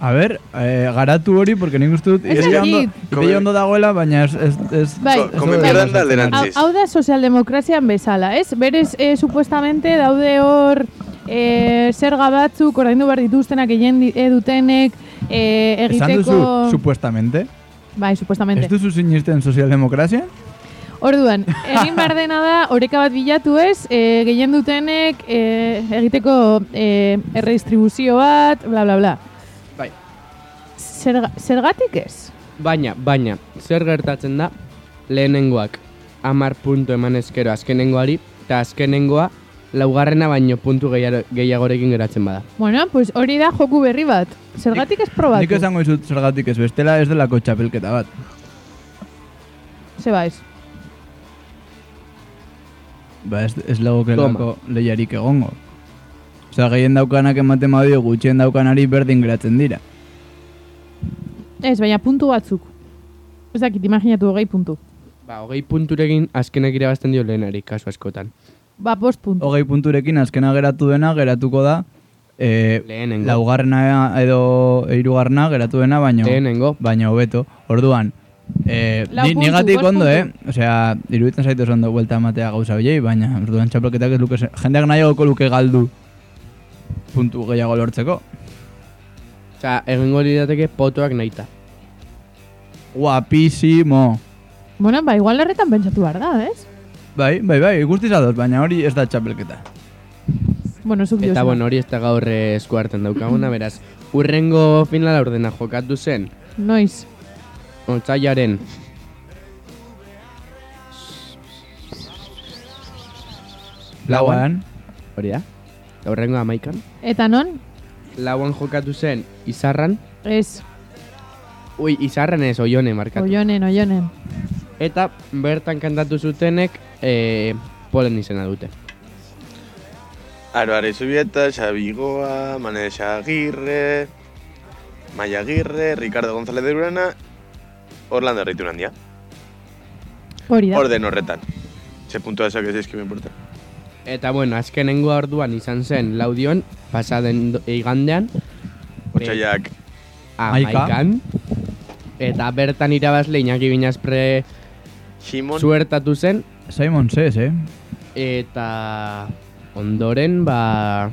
Speaker 1: A ber, eh, garatu hori, porque nik uste dut...
Speaker 3: Ez
Speaker 1: ideia
Speaker 3: dakit.
Speaker 1: ondo- ideia ondo dagoela, baina ez... ez, ez
Speaker 3: Bai.
Speaker 1: ez-
Speaker 4: Come
Speaker 1: ez-
Speaker 4: mierda
Speaker 1: ez-
Speaker 4: da
Speaker 3: hau,
Speaker 4: alderantziz.
Speaker 3: hau da sozialdemokrazian bezala, ez? Berez, e, supuestamente daude hor e, zerga batzuk, ordaindu behar dituztenak, egin di- e, dutenek, e,
Speaker 1: Esan
Speaker 3: egiteko...
Speaker 1: duzu, supuestamente.
Speaker 3: Bai, supuestamente.
Speaker 1: Ez duzu sinisten sozialdemokrazia?
Speaker 3: Orduan, egin behar dena da, oreka bat bilatu ez, e, gehien dutenek e, egiteko e, erredistribuzio bat, bla, bla, bla.
Speaker 5: Bai.
Speaker 3: Zerga, zergatik ez?
Speaker 5: Baina, baina, zer gertatzen da lehenengoak amar puntu eman ezkero azkenengoari, eta azkenengoa laugarrena baino puntu gehiaro- gehiagorekin geratzen bada.
Speaker 3: Bueno, pues hori da joku berri bat. Zergatik ez
Speaker 1: Nik
Speaker 3: probatu?
Speaker 1: esango dizut zergatik ez bestela ez delako txapelketa bat.
Speaker 3: Ze baiz.
Speaker 1: ba ez, ez lagokelako lehiarik egongo. Osea, gehien daukanak ematen badio gutxien daukanari berdin geratzen dira.
Speaker 3: Ez, baina puntu batzuk. Ez dakit, imaginatu hogei puntu.
Speaker 5: Ba, hogei punturekin azkenak irabazten dio lehenari, kasu askotan.
Speaker 3: Ba, bost puntu.
Speaker 1: Hogei punturekin azkena geratu dena geratuko da e,
Speaker 5: Lehenengo.
Speaker 1: laugarrena edo hirugarrena geratu dena baino
Speaker 5: Lehenengo.
Speaker 1: baina hobeto. Orduan, eh,
Speaker 3: Lau
Speaker 1: ni,
Speaker 3: puntu,
Speaker 1: nigatik
Speaker 3: bost
Speaker 1: ondo,
Speaker 3: puntu.
Speaker 1: eh? Osea, iruditzen zaitu ondo buelta ematea gauza horiei, baina orduan txapelketak ez luke, se- jendeak nahiagoko luke galdu puntu gehiago lortzeko.
Speaker 5: Osa, egingo lirateke potoak nahita.
Speaker 1: Guapísimo!
Speaker 3: Bueno, ba, igual horretan pentsatu behar da, ez?
Speaker 1: Bai, bai, bai, guztiz ados, baina hori ez da txapelketa.
Speaker 3: Bueno, zuk
Speaker 5: Eta
Speaker 3: diozuna.
Speaker 5: bueno, hori ez da gaur eh, eskuartan daukaguna, beraz. Urrengo finala ordena jokatu zen.
Speaker 3: Noiz.
Speaker 5: Otsailaren. Lauan.
Speaker 1: Lauan,
Speaker 5: Hori da. Eta Urrengo amaikan.
Speaker 3: Eta non?
Speaker 5: Lauan jokatu zen Izarran.
Speaker 3: Ez,
Speaker 5: Ui, Izarran ez, Oione markatu.
Speaker 3: oionen, oionen.
Speaker 5: Eta bertan kantatu zutenek eh, polen izena dute.
Speaker 4: Aro, Areizubieta, Xabigoa, Mane Xagirre, Maia Agirre, Ricardo González de Urana, Orlando Erriturandia.
Speaker 3: Hori da.
Speaker 4: Orden horretan. Ze puntua esak ez dizkio importa.
Speaker 5: Eta bueno, azkenengo orduan izan zen laudion, pasaden do- igandean,
Speaker 4: Otsailak
Speaker 3: Bai.
Speaker 1: Hamaika.
Speaker 5: amaikan. Eta bertan irabazle Iñaki Binazpre
Speaker 4: Simon,
Speaker 5: suertatu zen,
Speaker 1: Simon Says, eh?
Speaker 5: eta ondoren, ba...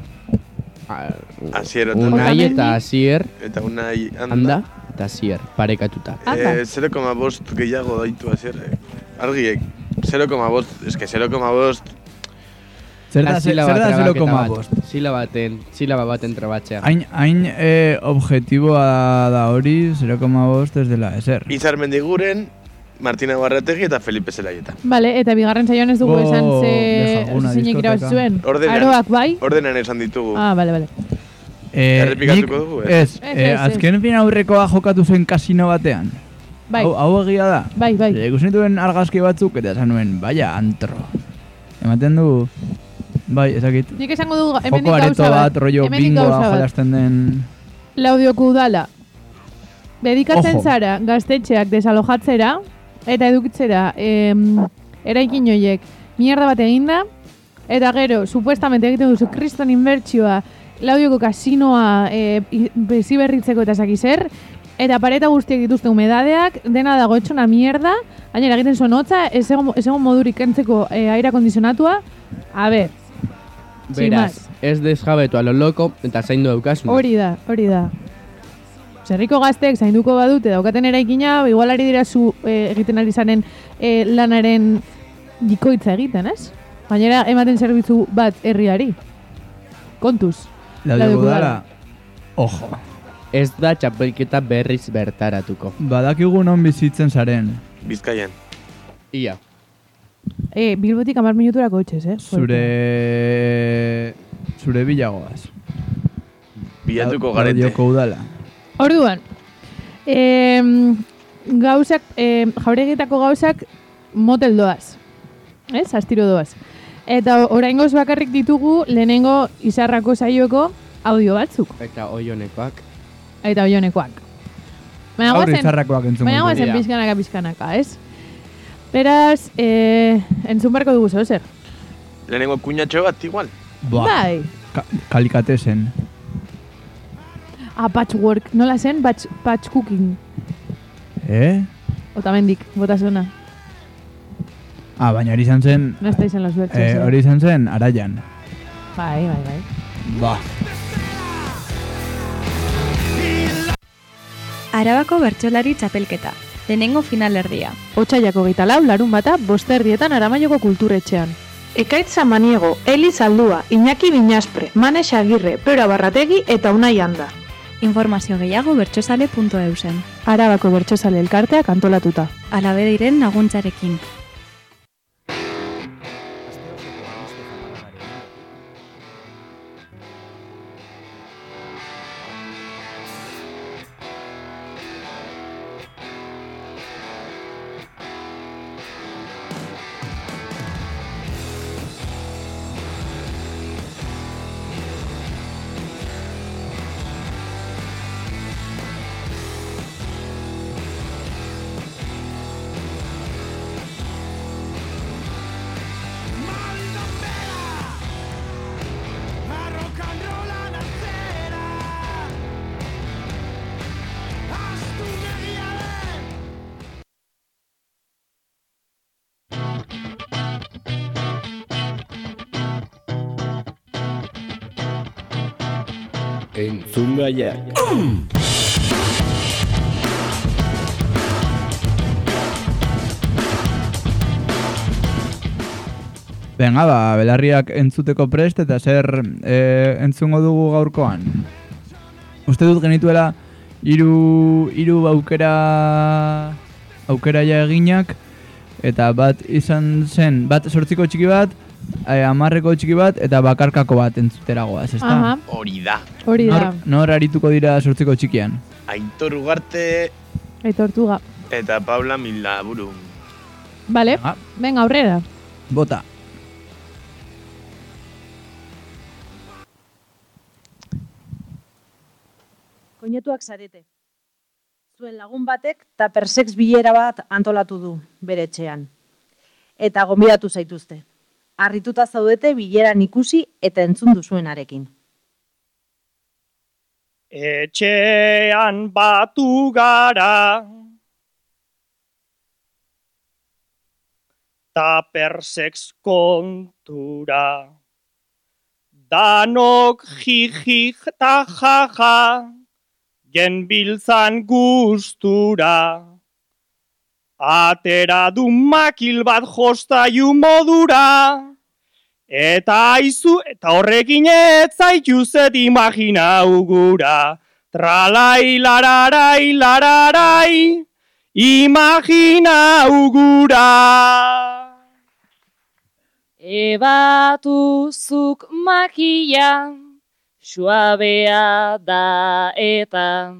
Speaker 5: a-
Speaker 4: Asier Otamendi.
Speaker 5: Unai
Speaker 3: Otamendi.
Speaker 5: eta Asier,
Speaker 4: eta Unai
Speaker 5: handa,
Speaker 4: Anda.
Speaker 5: eta Asier, parekatuta.
Speaker 3: Anda.
Speaker 4: Eh, 0,5 gehiago daitu eh. Asierrek. Argiek, 0,5, eske 0,5
Speaker 1: Zer da,
Speaker 5: Eta
Speaker 1: zer
Speaker 5: silaba
Speaker 1: da
Speaker 5: trabaketa
Speaker 1: 0,5?
Speaker 5: bat. Silaba baten, silaba baten trabatzea.
Speaker 1: Hain, hain eh, objektiboa da hori, 0,5 ez dela ezer.
Speaker 4: Izar Mendiguren, Martina Barrategi eta Felipe Zelaieta.
Speaker 3: Vale, eta bigarren saioan ez dugu
Speaker 1: Bo,
Speaker 3: esan ze
Speaker 1: dejaguna,
Speaker 3: zeinek
Speaker 1: diskoteka.
Speaker 3: irabazi zuen.
Speaker 4: Ordenan.
Speaker 3: Aroak bai?
Speaker 4: Ordenan esan ditugu.
Speaker 3: Ah, bale, bale.
Speaker 1: Eh,
Speaker 4: Errepikatuko
Speaker 1: nik-
Speaker 4: dugu, eh?
Speaker 1: Ez,
Speaker 3: Ez,
Speaker 1: eh,
Speaker 3: ez, ez.
Speaker 1: azken fin aurrekoa jokatu zen kasino batean.
Speaker 3: Bai,
Speaker 1: Hau, hau egia da.
Speaker 3: bai, bai.
Speaker 1: Bai. Ikusi nituen argazki batzuk eta esan nuen, baia antro. Ematen du, bai, ezakit,
Speaker 3: Nik esango dugu, hemen
Speaker 1: joko areto
Speaker 3: gauza bat.
Speaker 1: bat, rollo
Speaker 3: hemendik
Speaker 1: bingoa
Speaker 3: gauza bat.
Speaker 1: jolasten den...
Speaker 3: Laudioko udala. Dedikatzen
Speaker 1: Ojo.
Speaker 3: zara gaztetxeak desalojatzera eta edukitzera em, eraikin horiek mierda bat eginda eta gero, supuestamente egiten duzu kriston inbertsioa laudioko kasinoa e, beziberritzeko eta zaki zer eta pareta guztiek dituzte umedadeak dena dago etxona mierda gainera egiten zuen hotza ez egon ez egon modurik kentzeko e, aire kondizionatua a ber, sin
Speaker 5: Beraz, ez desjabetu alo loko eta zaindu daukasuna.
Speaker 3: Hori da, hori da. Zerriko gaztek zainduko badute daukaten eraikina, ba, igual ari dira zu eh, egiten ari zaren eh, lanaren jikoitza egiten, ez? Gainera, ematen zerbitzu bat herriari. Kontuz.
Speaker 1: Laudeko
Speaker 3: Laudeko
Speaker 1: dara,
Speaker 3: udala.
Speaker 1: ojo,
Speaker 5: Ez da txapelketa berriz bertaratuko.
Speaker 1: badakigu non bizitzen zaren,
Speaker 4: Bizkaian.
Speaker 5: Ia.
Speaker 3: E, Bilbotik amar minuturako etxez, eh? Fuerte.
Speaker 1: zure... zure bilagoaz.
Speaker 4: Bilatuko
Speaker 1: Lau-
Speaker 4: garete.
Speaker 1: Laudioko udala.
Speaker 3: Orduan, em, gauzak, em, jauregietako gauzak motel doaz. Ez? Astiro doaz. Eta oraingoz bakarrik ditugu lehenengo izarrako saioko audio batzuk.
Speaker 5: Eta oionekoak.
Speaker 3: eta oionekoak. Baina
Speaker 1: Gaur
Speaker 3: guazen,
Speaker 1: izarrakoak entzun
Speaker 3: baina
Speaker 5: dira.
Speaker 3: guazen pizkanaka pizkanaka, ez? Beraz, eh, entzun barko dugu zeu zer.
Speaker 4: Lehenengo kuñatxo bat, igual.
Speaker 1: Ba,
Speaker 3: Bai,
Speaker 1: ka kalikatezen.
Speaker 3: a patchwork, Ah, nola zen? Patch, patch cooking,
Speaker 1: Eh?
Speaker 3: otamendik, botasona.
Speaker 1: Ah, baina hori izan zen...
Speaker 3: No estáis en los bertsos.
Speaker 1: Eh, hori izan zen, araian.
Speaker 3: Bai, bai, bai.
Speaker 1: Ba.
Speaker 6: Arabako bertsolari txapelketa, lehenengo finalerdia.
Speaker 3: Otsailako geita lau, larun bata, bosterrietan aramaioko kulturetxean.
Speaker 7: Ekaitza Maniego, Eli Zaldua, Iñaki Binaspre, Mane Xagirre, Pero Abarrategi eta Unai Anda.
Speaker 6: Informazio gehiago bertsozale.eusen.
Speaker 3: Arabako bertsozale elkarteak antolatuta.
Speaker 6: Alabe diren laguntzarekin.
Speaker 8: Entzun gaiak.
Speaker 1: Benga, ba, belarriak entzuteko prest eta zer eh, entzungo dugu gaurkoan. Uste dut genituela hiru hiru aukera aukera ja eginak eta bat izan zen, bat sortziko txiki bat, eh, hamarreko txiki bat eta bakarkako bat entzuteragoaz, ezta?
Speaker 3: Aha,
Speaker 9: Hori da.
Speaker 3: hori da.
Speaker 1: Nor, nor arituko dira sortziko txikian?
Speaker 4: Aitor Ugarte
Speaker 3: Aitortuga.
Speaker 4: eta Paula Milaburu.
Speaker 3: Vale,
Speaker 1: Ah,
Speaker 3: venga, aurrera.
Speaker 1: bota.
Speaker 10: Koinetuak zarete. Zuen lagun batek tapersex bilera bat antolatu du bere etxean. Eta gonbidatu zaituzte. Harrituta zaudete bileran ikusi eta entzun duzuenarekin.
Speaker 8: Etxean batu gara. Tapersex kontura. Danok jijik ta jaja. Genbiltzan gustura. Atera du makil bat jostaiu modura. Eta aizu, eta horrekin ez zaituzet imaginau gura. Tralai, lararai, lararai, imaginau gura.
Speaker 11: Ebatuzuk makila, suabea da eta.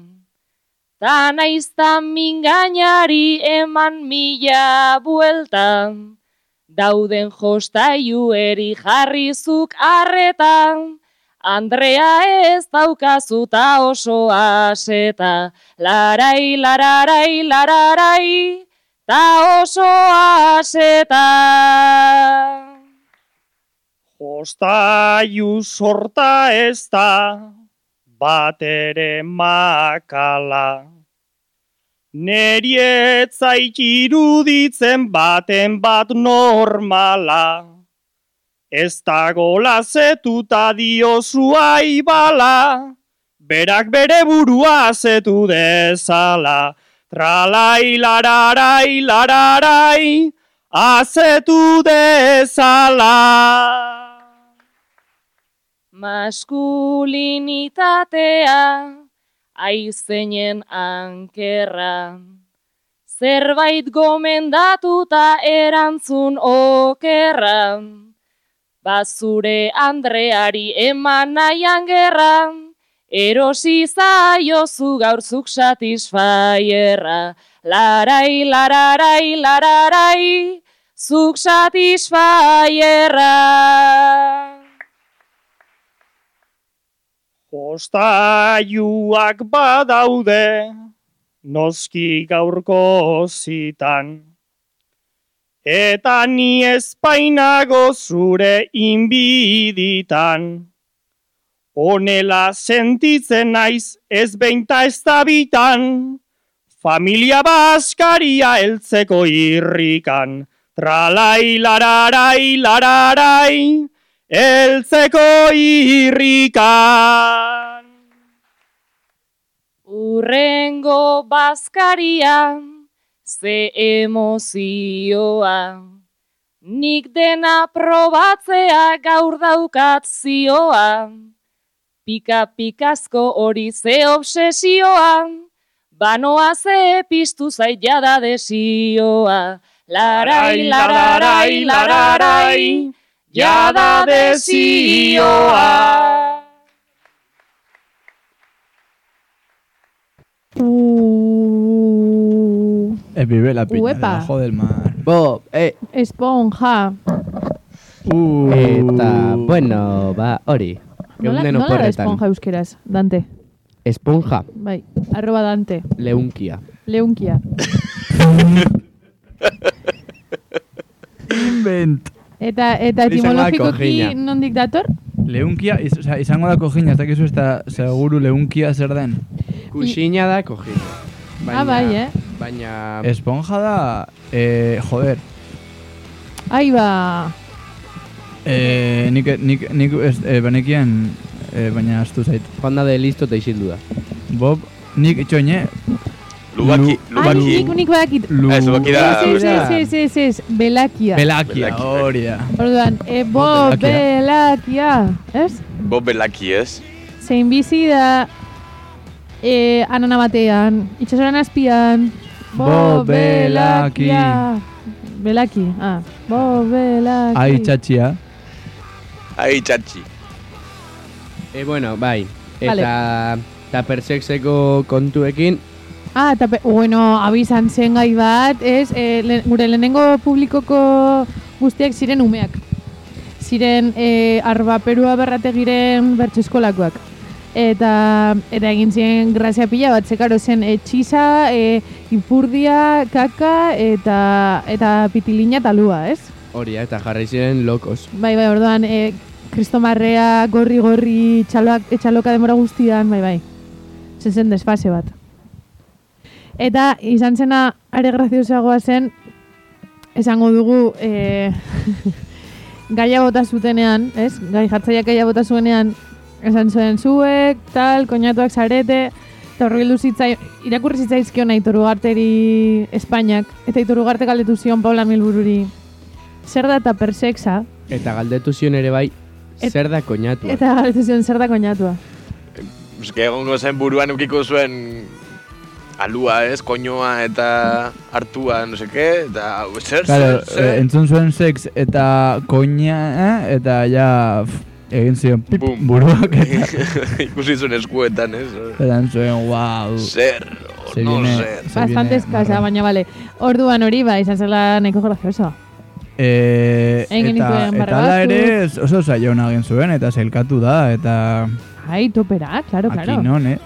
Speaker 11: Ta naizta mingainari eman mila bueltan, dauden jostaiu eri jarrizuk arretan. Andrea ez daukazuta oso aseta, larai, lararai, lararai, ta oso aseta.
Speaker 8: Jostaiu sorta ez da, bat ere makala. Neri ez zait iruditzen baten bat normala. Ez dago lazetuta diozu aibala, berak bere burua zetu dezala. Tralai, lararai, lararai, azetu dezala.
Speaker 11: Maskulinitatea, aizenen ankerra. Zerbait gomendatuta erantzun okerra. Bazure Andreari eman nahian gerra. Erosi zaiozu gaur zuk satisfaierra. Larai, lararai, lararai, zuk satisfaierra.
Speaker 8: Jostaiuak badaude, noski gaurko zitan. Eta ni espainago zure inbiditan. Honela sentitzen naiz ez beinta ez da bitan. Familia baskaria heltzeko irrikan. Tralai, lararai, lararai, Eltzeko irrikan.
Speaker 11: Urrengo bazkaria, ze emozioa. Nik dena probatzea gaur daukat zioa. Pika-pikazko hori ze obsesioa, banoa ze piztu zait jada desioa. Larai, lararai, lararai, jada desioa.
Speaker 3: U...
Speaker 1: Eh, vive la piña
Speaker 3: Uepa.
Speaker 1: debajo del mar.
Speaker 5: Bo, eh,
Speaker 3: Esponja.
Speaker 1: Uh.
Speaker 5: eta, bueno, ba, hori.
Speaker 3: Nola,
Speaker 5: Geunden
Speaker 3: nola da
Speaker 5: oporretan.
Speaker 3: esponja euskeraz? Dante.
Speaker 5: Esponja,
Speaker 3: Bai, arroba Dante.
Speaker 5: leunkia.
Speaker 3: Leunkia.
Speaker 1: Invent.
Speaker 3: Eta, eta
Speaker 5: Izango da
Speaker 3: etimologikoki
Speaker 5: kojina.
Speaker 3: nondik dator?
Speaker 1: Leunkia, iz, oza, izango da kojina, ez dakizu ez da seguru leunkia zer den.
Speaker 5: Kuxina da kojina.
Speaker 3: Ah, bai, eh.
Speaker 5: Baina,
Speaker 1: Esponja da, eh, joder,
Speaker 3: Ai ba,
Speaker 1: eh, nik, nik, nik ez, eh, banekien, eh, baina astu zait.
Speaker 5: Panda de listo eta isildu da.
Speaker 1: Bob, nik itxoine...
Speaker 4: Lubaki,
Speaker 3: Ai, nik unik badakit. Eh,
Speaker 1: Lu...
Speaker 4: Ez, lubaki da.
Speaker 3: Ez, ez, ez, ez, ez, belakia.
Speaker 1: Belakia,
Speaker 4: Belaki.
Speaker 1: hori da.
Speaker 3: Orduan, e, bo,
Speaker 1: Belakia.
Speaker 3: belakia, ez?
Speaker 4: Bob Belaki, ez?
Speaker 3: Zein bizi da, e, anana batean, itxasoran azpian, bo,
Speaker 1: Bo, belaki.
Speaker 3: belakia. Belaki, ah, bo, belaki.
Speaker 1: Ai, txatxia.
Speaker 4: Ai, txatxi.
Speaker 5: E, bueno, bai.
Speaker 3: Vale.
Speaker 5: Eta... Eta persexeko kontuekin,
Speaker 3: Ah, eta, pe- bueno, abizan zen gai bat, ez, e, le, gure lehenengo publikoko guztiak ziren umeak. Ziren e, arba perua berrategiren bertso eskolakoak. Eta, eta egin ziren grazia pila bat, zekaro zen etxisa, e, ipurdia, kaka eta, eta pitilina eta lua, ez?
Speaker 5: hori da, eta jarri ziren lokos.
Speaker 3: Bai, bai, orduan, e, kristomarrea, gorri-gorri, txaloak, etxaloka demora guztian, bai, bai. Zen zen desfase bat. Eta izan zena, are graziosagoa zen, esango dugu, e, gaia bota zutenean, ez? Gai jartzaiak gaia bota zuenean, esan zuen zuek, tal, koñatuak zarete, eta horri zitzai, irakurri zitzaizkion aitoru garteri Espainiak, eta aitoru garte galdetu zion Paula Milbururi, zer da eta persexa,
Speaker 5: Eta galdetu zion ere bai,
Speaker 3: Et-
Speaker 5: zer da koñatu.
Speaker 3: Eta galdetu zion zer da koñatua.
Speaker 4: Euske egongo zen buruan eukiko zuen alua, ez, koñoa eta hartua, no seke, eta zer,
Speaker 1: Claro,
Speaker 4: zer,
Speaker 1: eh,
Speaker 4: zer,
Speaker 1: entzun zuen sex eta koña, eh, eta ja pf, egin zion pip
Speaker 4: Bum.
Speaker 1: buruak eta
Speaker 4: ikusi zuen eskuetan, ez?
Speaker 1: edan zuen, wow.
Speaker 4: Zer,
Speaker 1: Se
Speaker 4: no
Speaker 1: viene-
Speaker 4: zer.
Speaker 1: se
Speaker 3: Bastante
Speaker 1: viene
Speaker 3: eskasa,
Speaker 1: marrón.
Speaker 3: baina bale. Orduan hori ba, izan zela nahiko gracioso.
Speaker 1: Eh,
Speaker 3: Egin
Speaker 1: eta,
Speaker 3: genituen
Speaker 1: eta
Speaker 3: barra
Speaker 1: ala
Speaker 3: batzuk.
Speaker 1: ere ez- oso saiona egin zuen, eta zelkatu da, eta
Speaker 3: Ai, topera, claro,
Speaker 1: aquí
Speaker 3: claro.
Speaker 1: non, eh.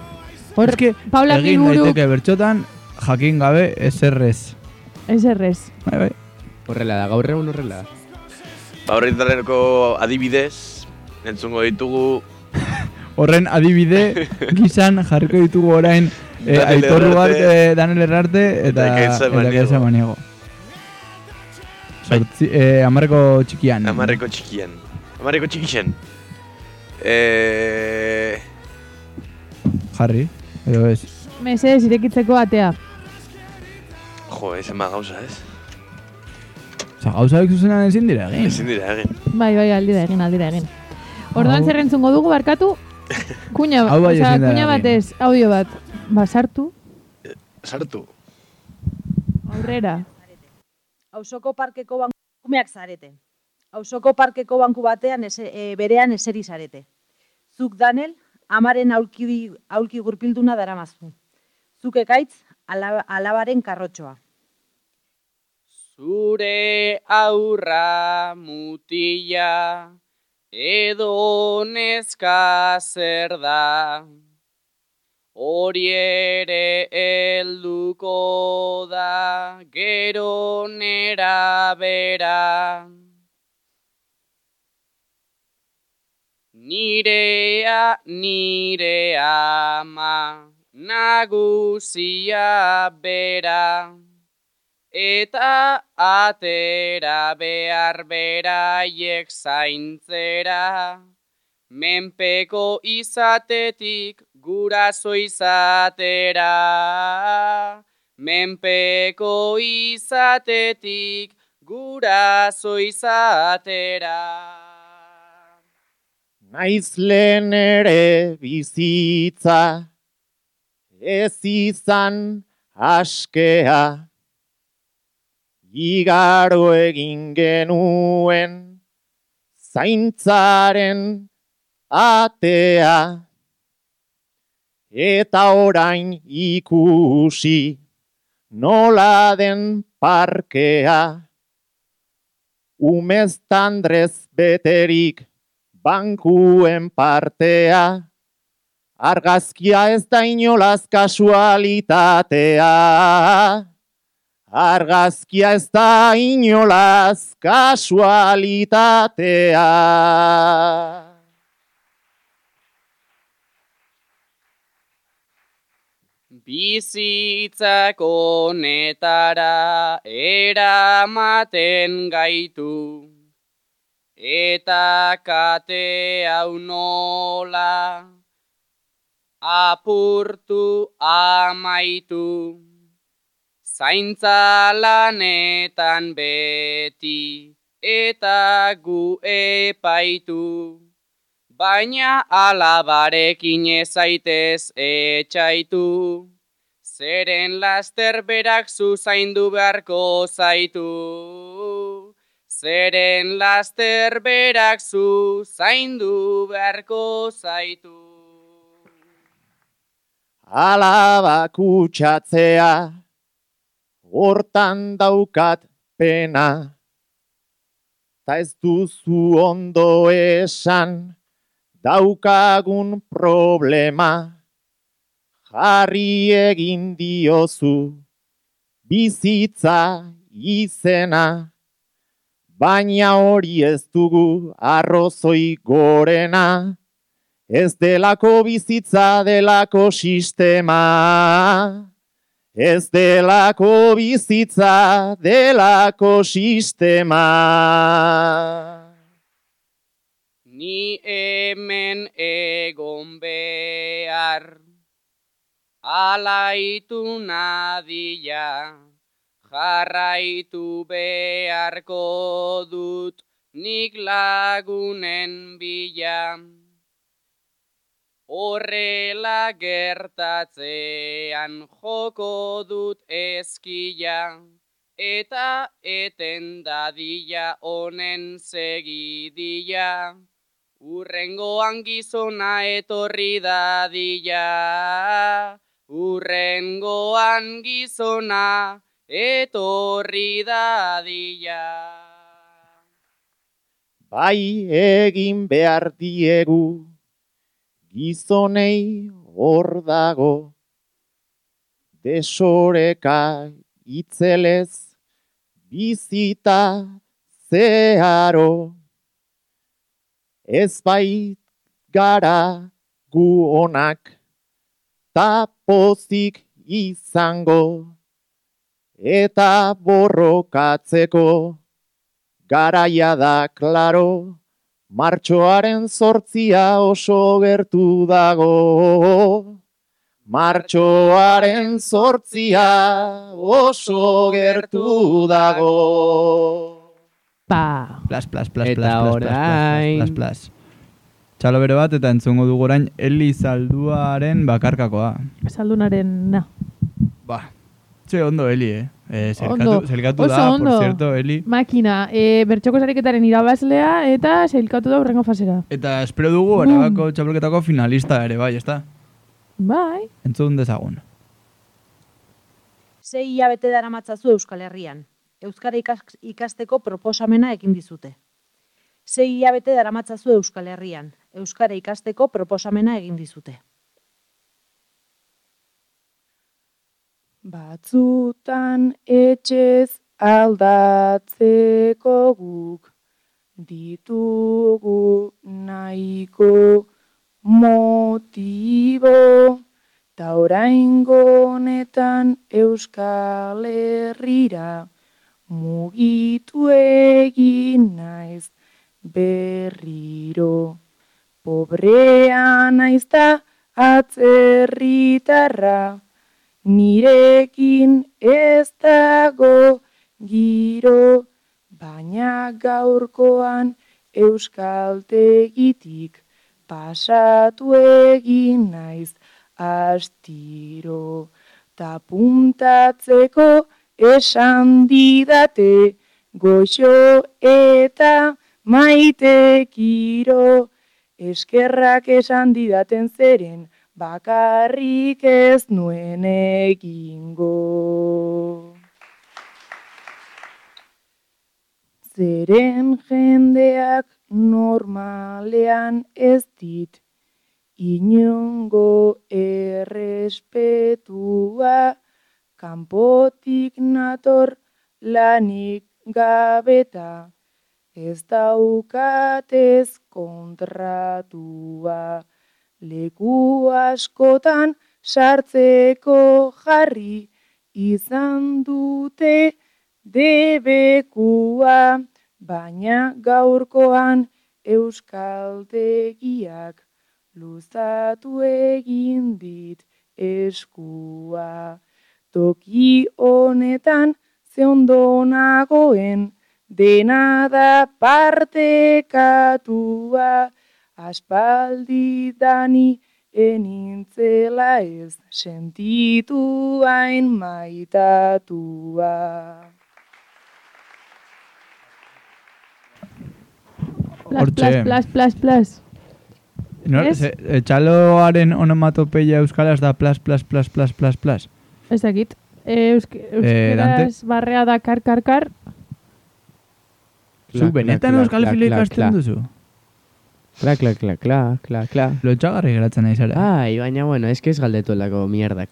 Speaker 3: Hor,
Speaker 1: Es que
Speaker 3: Paula
Speaker 1: egin
Speaker 3: Milburu,
Speaker 1: daiteke bertxotan, jakin gabe eserrez.
Speaker 3: ez errez.
Speaker 1: Bai, bai.
Speaker 5: Horrela da, gaur egun horrela da.
Speaker 4: Ba, horretarako adibidez, entzungo ditugu
Speaker 1: Horren adibide gizan jarriko ditugu orain eh,
Speaker 4: Daniel
Speaker 1: Aitor
Speaker 4: Herrarte.
Speaker 1: Ugarte, Daniel Herrarte
Speaker 4: Eta
Speaker 1: eta
Speaker 4: Ekaitza Maniego.
Speaker 1: Ekaitza Maniego. Sortzi, eh, amarreko txikian.
Speaker 4: amarreko txikian. Amarreko txikixen. Eh,
Speaker 1: Jarri, edo ez.
Speaker 3: Mesedez irekitzeko atea.
Speaker 4: jo, ezen ba gauza, ez?
Speaker 1: Osa, gauzak zuzenan ezin dira egin.
Speaker 4: Ezin dira, egin.
Speaker 3: Bai, bai, aldira egin, aldira egin. Orduan
Speaker 1: Hau-
Speaker 3: zer entzungo dugu barkatu? Kuña,
Speaker 1: Hau bai
Speaker 3: osea,
Speaker 1: ezin da
Speaker 3: kuña
Speaker 1: egin.
Speaker 3: batez, audio bat. Ba, Basartu,
Speaker 4: Sartu.
Speaker 3: aurrera.
Speaker 10: Hausoko parkeko banku kumeak zarete. Hausoko parkeko banku batean ese, e, berean eseri zarete. Zuk Danel, amaren aulki, aulki gurpilduna daramaztu. Zuk ekaitz, ala- alabaren karrotxoa.
Speaker 12: Zure aurra mutila edo neska zer da. Hori ere helduko da gero nera bera. Nirea, nire ama, nagusia bera eta atera behar beraiek zaintzera. Menpeko izatetik guraso izatera. Menpeko izatetik guraso izatera.
Speaker 13: Naiz lehen ere bizitza, ez izan askea. Igaro egin genuen, zaintzaren atea. Eta orain ikusi, nola den parkea. Umez tandrez beterik, bankuen partea, argazkia ez da inolaz kasualitatea. Argazkia ez da inolaz kasualitatea.
Speaker 12: bizitzak honetara eramaten gaitu. eta kate hau nola apurtu amaitu zaintza lanetan beti eta gu epaitu baina alabarekin ezaitez etxaitu zeren laster berak zuzaindu beharko zaitu zeren laster berak zuzaindu beharko zaitu
Speaker 13: alaba kutsatzea, hortan daukat pena, ta ez duzu ondo esan, daukagun problema, jarri egin diozu, bizitza izena, baina hori ez dugu arrozoi gorena, Ez delako bizitza delako sistema. Ez delako bizitza delako sistema.
Speaker 12: Ni hemen egon behar, alaitu nadila, jarraitu beharko dut, nik lagunen bila. Horrela gertatzean joko dut ezkila, eta eten dadila honen segidila, urrengoan gizona etorri dadila, urrengoan gizona etorri dadila.
Speaker 13: Bai egin behar diegu, gizonei hor dago, desoreka itzelez, bizita zeharo, ez bait gara gu onak, ta pozik izango, eta borrokatzeko, garaia da klaro, Martxoaren zortzia oso gertu dago. Martxoaren zortzia oso gertu dago.
Speaker 3: Pa.
Speaker 1: Plas, plas, plas,
Speaker 5: Eta
Speaker 1: plas, plas, plas,
Speaker 5: orain.
Speaker 1: plas, plas, plas, Txalo bero bat eta entzungo dugu orain Eli Zalduaren bakarkakoa.
Speaker 3: Zaldunaren na.
Speaker 1: Ba, txe ondo Eli, eh? eh
Speaker 3: Ondo.
Speaker 1: zelkatu, zelkatu
Speaker 3: Oso
Speaker 1: da,
Speaker 3: ondo.
Speaker 1: por cierto, Eli.
Speaker 3: Makina, e, bertxoko sariketaren irabazlea eta sailkatu da hurrengo fasera.
Speaker 1: Eta espero
Speaker 3: Mm.
Speaker 1: dugu, arabako txapelketako finalista ere, bai, ezta?
Speaker 3: Bai.
Speaker 1: Entzun dezagun.
Speaker 10: Sei hilabete dara matzazu Euskal Herrian. Euskara ikas- ikasteko proposamena egin dizute. Sei hilabete dara matzazu Euskal Herrian. Euskara ikasteko proposamena egin dizute.
Speaker 14: Batzutan etxez aldatzeko guk ditugu nahiko motibo ta oraingo honetan Euskal Herrira mugitu egin naiz berriro pobrea naiz da atzerritarra Nirekin ez dago giro, baina gaurkoan euskaltegitik pasatu egin naiz astiro. Ta puntatzeko esan didate goxo eta maite kiro. Eskerrak esan didaten zeren bakarrik ez nuen egingo. Zeren jendeak normalean ez dit inongo errespetua kanpotik nator lanik gabeta ez daukatez kontratua leku askotan sartzeko jarri izan dute debekua baina gaurkoan euskaltegiak luzatu egin dit eskua. Toki honetan ze ondo nagoen, dena da partekatua, aspaldi dani enintzela ez sentitu hain maitatua.
Speaker 3: Plas,
Speaker 1: Hortxe.
Speaker 3: plas, plas, plas, plas.
Speaker 1: No,
Speaker 3: Ez?
Speaker 1: ze, e, txaloaren onomatopeia euskaraz da plas, plas, plas, plas, plas, plas.
Speaker 3: Ez dakit. Eh, eusk
Speaker 1: Eh, Dante?
Speaker 3: euskeraz barrea da kar, kar, kar.
Speaker 1: Zu benetan euskal filio ikasten duzu?
Speaker 5: Kla, kla, kla, kla, kla, kla.
Speaker 1: Lotxagarri geratzen nahi zara.
Speaker 5: Ai, baina, bueno, eske ez galdetu lako mierdak.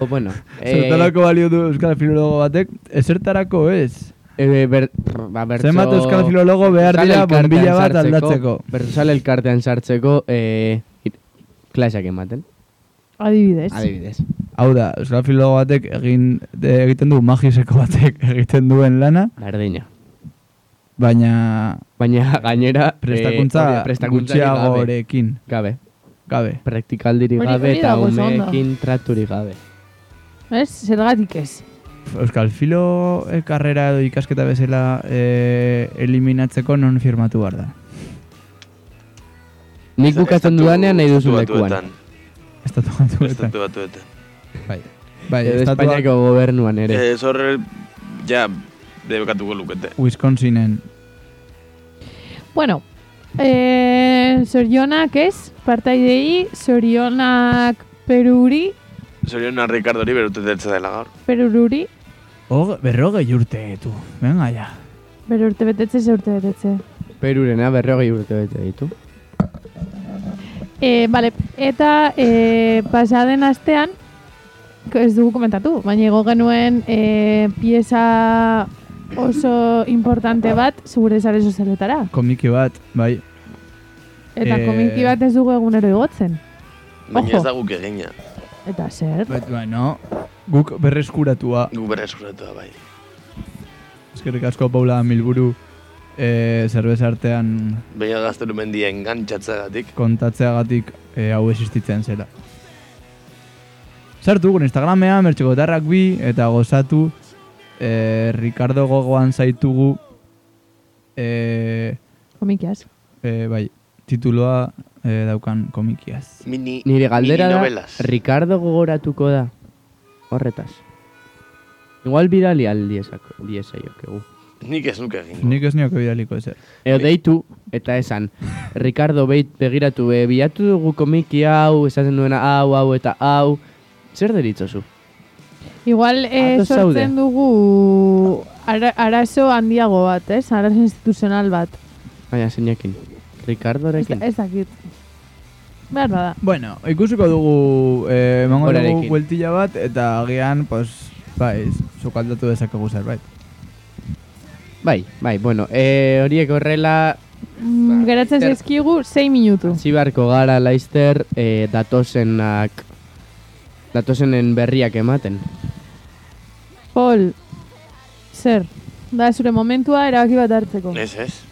Speaker 5: o, bueno. eh,
Speaker 1: Zertarako balio du euskal filologo batek? Ezertarako ez.
Speaker 5: E, ber, prr, ba, bertso...
Speaker 1: Zenbat euskal filologo behar
Speaker 5: bertsale
Speaker 1: dira
Speaker 5: elkartean
Speaker 1: bombilla bat
Speaker 5: sartzeko-
Speaker 1: aldatzeko?
Speaker 5: Bertsale elkartean sartzeko e, klasak ematen.
Speaker 3: Adibidez.
Speaker 5: Adibidez.
Speaker 1: Hau da, euskal filologo batek egin, de, egiten du magiseko batek egiten duen lana,
Speaker 5: Berdina.
Speaker 1: baina
Speaker 5: Baina gainera... e, hori
Speaker 1: prestakuntza,
Speaker 5: da, prestakuntzarik gabe.
Speaker 1: gutxiagorekin.
Speaker 5: Gabe.
Speaker 1: Gabe.
Speaker 5: Praktikaldiri
Speaker 3: Hori-
Speaker 5: gabe
Speaker 3: hori
Speaker 5: eta
Speaker 3: dago oso ondo.
Speaker 5: umeekin traturi gabe.
Speaker 3: Ez, zergatik ez.
Speaker 1: Euskal filo eh, karrera edo ikasketa bezala eh, eliminatzeko non firmatu behar da.
Speaker 5: Nik bukatzen dudanean nahi duzu lekuan.
Speaker 4: Estatu
Speaker 1: Estatu batuetan.
Speaker 4: batuetan.
Speaker 1: Bai. Bai,
Speaker 5: Edo
Speaker 1: estatua-
Speaker 5: Espainiako gobernuan ere.
Speaker 4: Ez horre, ja, debekatuko lukete.
Speaker 1: Wisconsinen.
Speaker 3: Bueno, eh, zorionak ez, partaidei, zorionak peruri,
Speaker 4: Zorion a Ricardo River, uste dertza dela gaur.
Speaker 3: perururi,
Speaker 1: Oh, berrogei urte, tu. Venga, ja.
Speaker 3: bero urte betetze, ze urte betetze.
Speaker 5: Perurena berrogei urte bete ditu.
Speaker 3: Eh, vale, eta eh, pasaden astean, ko- ez dugu komentatu, baina ego genuen eh, pieza oso importante bat zure zare sozialetara.
Speaker 1: Komiki bat, bai.
Speaker 3: Eta
Speaker 1: Eh,
Speaker 3: komiki bat ez dugu egunero igotzen.
Speaker 4: Baina ez
Speaker 3: Ojo.
Speaker 4: da guk egina.
Speaker 3: Eta zer?
Speaker 4: Bai.
Speaker 1: Bet, baino, Bai, guk berreskuratua.
Speaker 4: Guk berreskuratua, bai.
Speaker 1: Eskerrik asko Paula Milburu eh, zerbez artean
Speaker 4: Baina gaztelu mendia engantxatzagatik.
Speaker 1: kontatzeagatik eh, hau existitzen zela. Sartu gure Instagramean, mertxekotarrak bi, eta gozatu, eh, Ricardo gogoan zaitugu, eh,
Speaker 3: Komikiaz.
Speaker 1: eh, bai, tituloa eh, daukan komikiaz.
Speaker 4: Mini,
Speaker 5: Nire galdera
Speaker 1: mini
Speaker 5: da,
Speaker 1: novelas.
Speaker 5: Ricardo gogoratuko da. Horretaz. Igual bidali aldiesak, diesaiokegu.
Speaker 4: Nik ez nuke egin.
Speaker 1: Nik ez nioke bidaliko ezer.
Speaker 5: Eo deitu, eta esan, Ricardo beit begiratu, e, bilatu dugu komiki hau, esaten duena hau, hau eta hau, zer deritzozu?
Speaker 3: Igual eh,
Speaker 5: Ados
Speaker 3: sortzen
Speaker 5: zaude.
Speaker 3: dugu ara, arazo handiago bat, ez? Arazo instituzional bat.
Speaker 5: Baina, zeinekin.
Speaker 3: Ez, da-
Speaker 5: Ricardorekin.
Speaker 3: ez dakit. Behar bada.
Speaker 1: Bueno, ikusiko dugu, eh, emango dugu
Speaker 5: Horarekin.
Speaker 1: bueltilla bat, eta agian, pues, bai, zukaldatu dezakegu zerbait.
Speaker 5: Bai, bai, bueno, e, horiek horrela,
Speaker 4: Bai,
Speaker 3: Mm, geratzen
Speaker 5: Laster.
Speaker 3: zaizkigu 6 minutu.
Speaker 5: zibarko gara laizter, e, datozenak, datozenen berriak ematen.
Speaker 3: Paul, zer? Da zure momentua erabaki bat hartzeko.
Speaker 4: Ez, ez.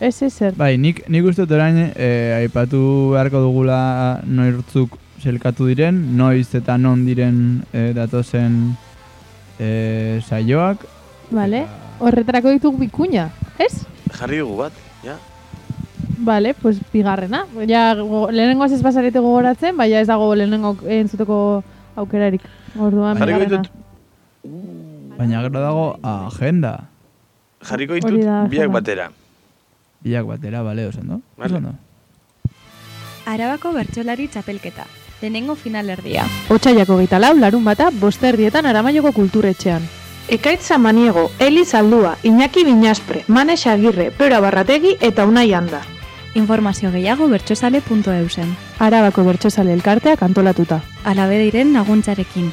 Speaker 3: Ez ez zer.
Speaker 1: Bai, nik, nik uste dut orain eh, aipatu beharko dugula noirtzuk selkatu diren, noiz eta non diren eh, datozen eh, saioak.
Speaker 3: Vale? Horretarako ditugu bikuña, ez?
Speaker 4: Jarri dugu bat, ja.
Speaker 3: Vale, pues bigarrena. Ja, go, lehenengoaz ez bazarete gogoratzen, baina ez dago lehenengo entzuteko aukerarik. Orduan,
Speaker 4: Jarriko
Speaker 3: bigarrena.
Speaker 1: Baina gero dago agenda.
Speaker 4: Jarriko
Speaker 3: Hori
Speaker 4: ditut
Speaker 3: da,
Speaker 4: biak
Speaker 3: jada.
Speaker 4: batera.
Speaker 1: Biak batera, bale, osando?
Speaker 4: Vale.
Speaker 1: Osando?
Speaker 6: Arabako bertsolari txapelketa, lehenengo finalerdia.
Speaker 3: Otxaiako gita lau, larun bata, bosterrietan aramaioko kulturetxean.
Speaker 7: Ekaitza maniego, Eli Zaldua, Iñaki Binaspre, Mane Xagirre, Pero Abarrategi eta Unai Anda.
Speaker 6: Informazio gehiago bertsozale.eusen.
Speaker 3: Arabako bertsozale elkarteak antolatuta.
Speaker 6: Alabe diren laguntzarekin.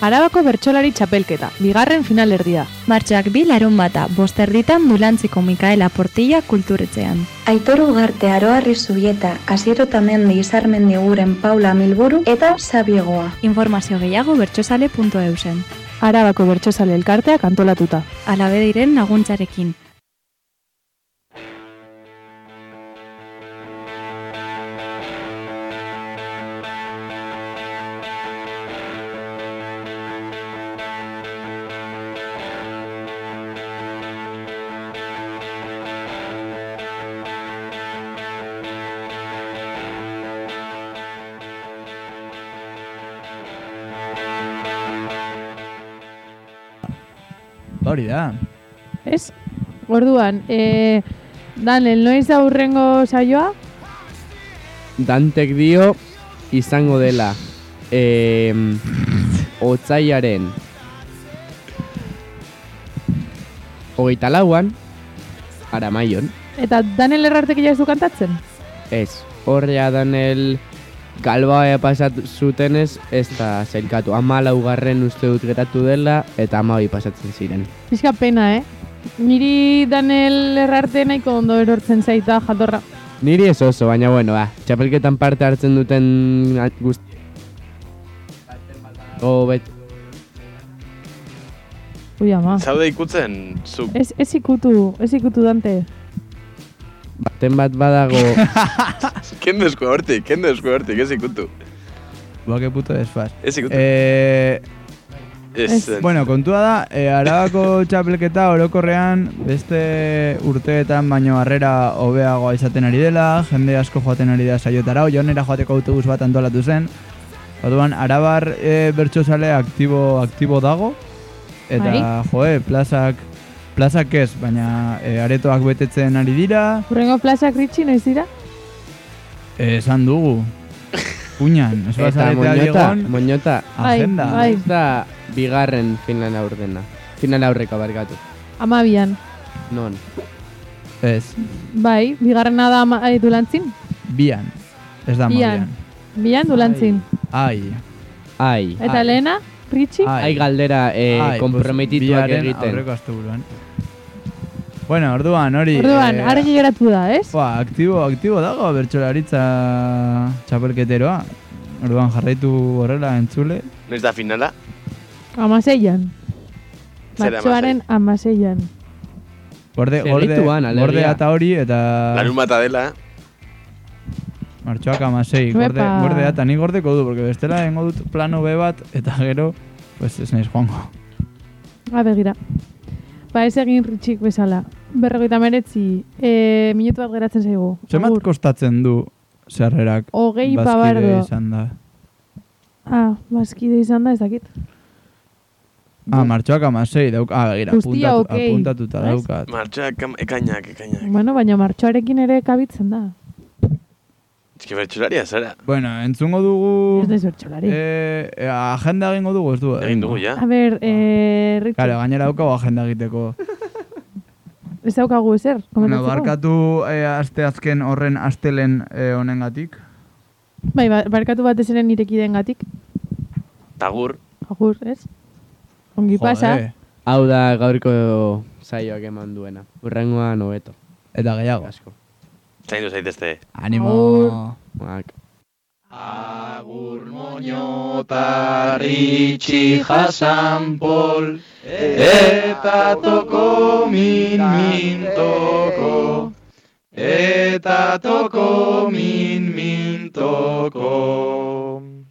Speaker 3: Arabako bertsolari txapelketa, bigarren finalerdia.
Speaker 6: Martxoak bi larun bata, bosterditan dulantziko Mikaela Portilla kulturetzean.
Speaker 15: Aitor Ugarte Aroarri Zubieta, Asiero Tamendi Izarmendi Guren Paula Milburu eta Zabiegoa.
Speaker 6: Informazio gehiago bertsozale.eusen.
Speaker 7: Arabako Bertsozale Elkarteak antolatuta.
Speaker 6: Alabe diren laguntzarekin.
Speaker 1: Ba hori da.
Speaker 3: Ez? Orduan, e, Daniel, noiz da hurrengo saioa?
Speaker 5: Dantek dio izango dela eh, otzaiaren hogeita lauan aramaion.
Speaker 3: Eta Daniel errartek ja ez du kantatzen?
Speaker 5: Ez, horrea danel galbaia pasatu zutenez ez da zailkatu. Ama laugarren uste dut geratu dela eta ama pasatzen ziren.
Speaker 3: Bizka pena, eh? Niri Daniel errarte nahiko ondo erortzen zaita jatorra.
Speaker 5: Niri ez oso, baina bueno, ba, txapelketan parte hartzen duten a- guzt... Gobet,
Speaker 3: Ui, ama.
Speaker 4: Zaude ikutzen, zuk.
Speaker 3: Ez, ez ikutu, ez ikutu Dante.
Speaker 5: baten bat badago...
Speaker 4: Kendo esku hortik, kendo esku hortik, ez ikutu.
Speaker 1: Ba, que puto desfaz.
Speaker 4: Ez ikutu.
Speaker 1: Eh,
Speaker 4: Ez. Ez.
Speaker 1: Bueno, kontua da, e, arabako txapelketa orokorrean beste urteetan baino harrera hobeagoa izaten ari dela, jende asko joaten ari da saiotara, jonera joateko autobus bat antolatu zen. Orduan, arabar e, bertsozale aktibo, aktibo dago, eta
Speaker 3: Bai.
Speaker 1: joe, plazak, plazak ez, baina e, aretoak betetzen ari dira,
Speaker 3: Hurrengo plazak ritxi noiz dira?
Speaker 1: e, esan dugu. Kuñan, ez
Speaker 5: Eta
Speaker 1: bazarete
Speaker 5: moñota,
Speaker 1: aldegon,
Speaker 5: moñota.
Speaker 3: Bai, agenda. bai.
Speaker 5: Ez da bigarren final aurdena. Final aurreko barkatu.
Speaker 3: Amabian.
Speaker 5: Non.
Speaker 1: Ez.
Speaker 3: Bai, bigarrena da ama, ai, dulantzin?
Speaker 1: bian, ez da
Speaker 3: Bian.
Speaker 1: mobian.
Speaker 3: Bian dulantzin.
Speaker 5: Bai.
Speaker 1: Ai.
Speaker 5: Ai.
Speaker 3: Eta
Speaker 5: ai.
Speaker 3: lehena, ritxi?
Speaker 5: Ai galdera eh,
Speaker 1: Ai,
Speaker 5: komprometituak
Speaker 1: biaren
Speaker 5: egiten.
Speaker 1: Aurreko asteburuan. Bueno, orduan hori.
Speaker 3: Orduan, argi geratu da, eh? ez?
Speaker 1: Ba, aktibo, aktibo dago bertsolaritza txapelketeroa. Orduan jarraitu horrela entzule.
Speaker 4: Noiz da finala?
Speaker 3: Amaseian.
Speaker 4: Zera
Speaker 3: Martxoaren amaseian.
Speaker 1: Gorde, gorde,
Speaker 5: Segituan, alegia.
Speaker 1: gorde eta hori eta
Speaker 4: Larun bata dela, eh?
Speaker 1: martxoak amasei. Gorde,
Speaker 3: Uepa.
Speaker 1: gorde eta ni gordeko du, porque bestela dengo dut plano B bat eta gero, pues ez naiz joango.
Speaker 3: A begira. Ba, ez egin ritxik bezala. Berrogeita meretzi, e, minutu bat geratzen zaigu.
Speaker 1: Zemat kostatzen du zerrerak
Speaker 3: Hogei
Speaker 1: bazkidea
Speaker 3: pabardo.
Speaker 1: izan da.
Speaker 3: Ah, bazkide izan da, ez dakit.
Speaker 1: Ah, martxoak amasei dauk, ah, begira,
Speaker 3: Guztia Bai.
Speaker 1: apuntatu,
Speaker 3: okei,
Speaker 1: apuntatuta
Speaker 3: ez?
Speaker 1: daukat.
Speaker 4: martxak, kam- ekainak, ekainak.
Speaker 3: Bueno, baina martxoarekin ere kabitzen da.
Speaker 4: Ez que bertxolaria zara.
Speaker 1: Bueno, entzungo
Speaker 3: Ez
Speaker 1: dugu...
Speaker 3: naiz bertxolari.
Speaker 1: Eh, eh, agenda egingo dugu, ez du? eh?
Speaker 4: Egin dugu, ja.
Speaker 3: A ber, e, ritxik,
Speaker 1: Claro, gainera daukagu agenda egiteko.
Speaker 3: ez daukagu ezer,
Speaker 1: Bueno,
Speaker 3: komentatzeko?
Speaker 1: barkatu eh, aste azken horren astelen eh, honengatik.
Speaker 3: Bai, ba- barkatu batez ere nirekideen gatik.
Speaker 4: Tagur.
Speaker 3: Agur, ez? Ongi pasa.
Speaker 5: Hau da gaurko saioak eman duena. Urrengoan hobeto.
Speaker 1: Eta gehiago.
Speaker 5: Asko.
Speaker 4: Zaindu zaitezte.
Speaker 1: Animo.
Speaker 5: Mak.
Speaker 13: Tarritxi jasan pol, eta toko min min toko, eta toko min min toko.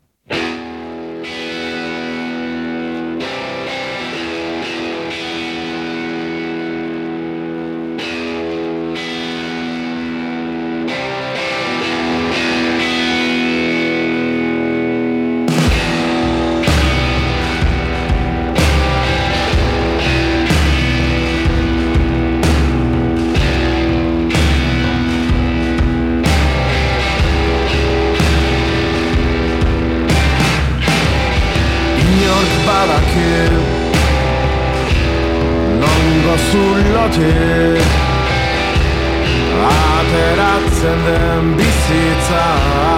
Speaker 16: Inork badaki Nongo zulotik Ateratzen den bizitza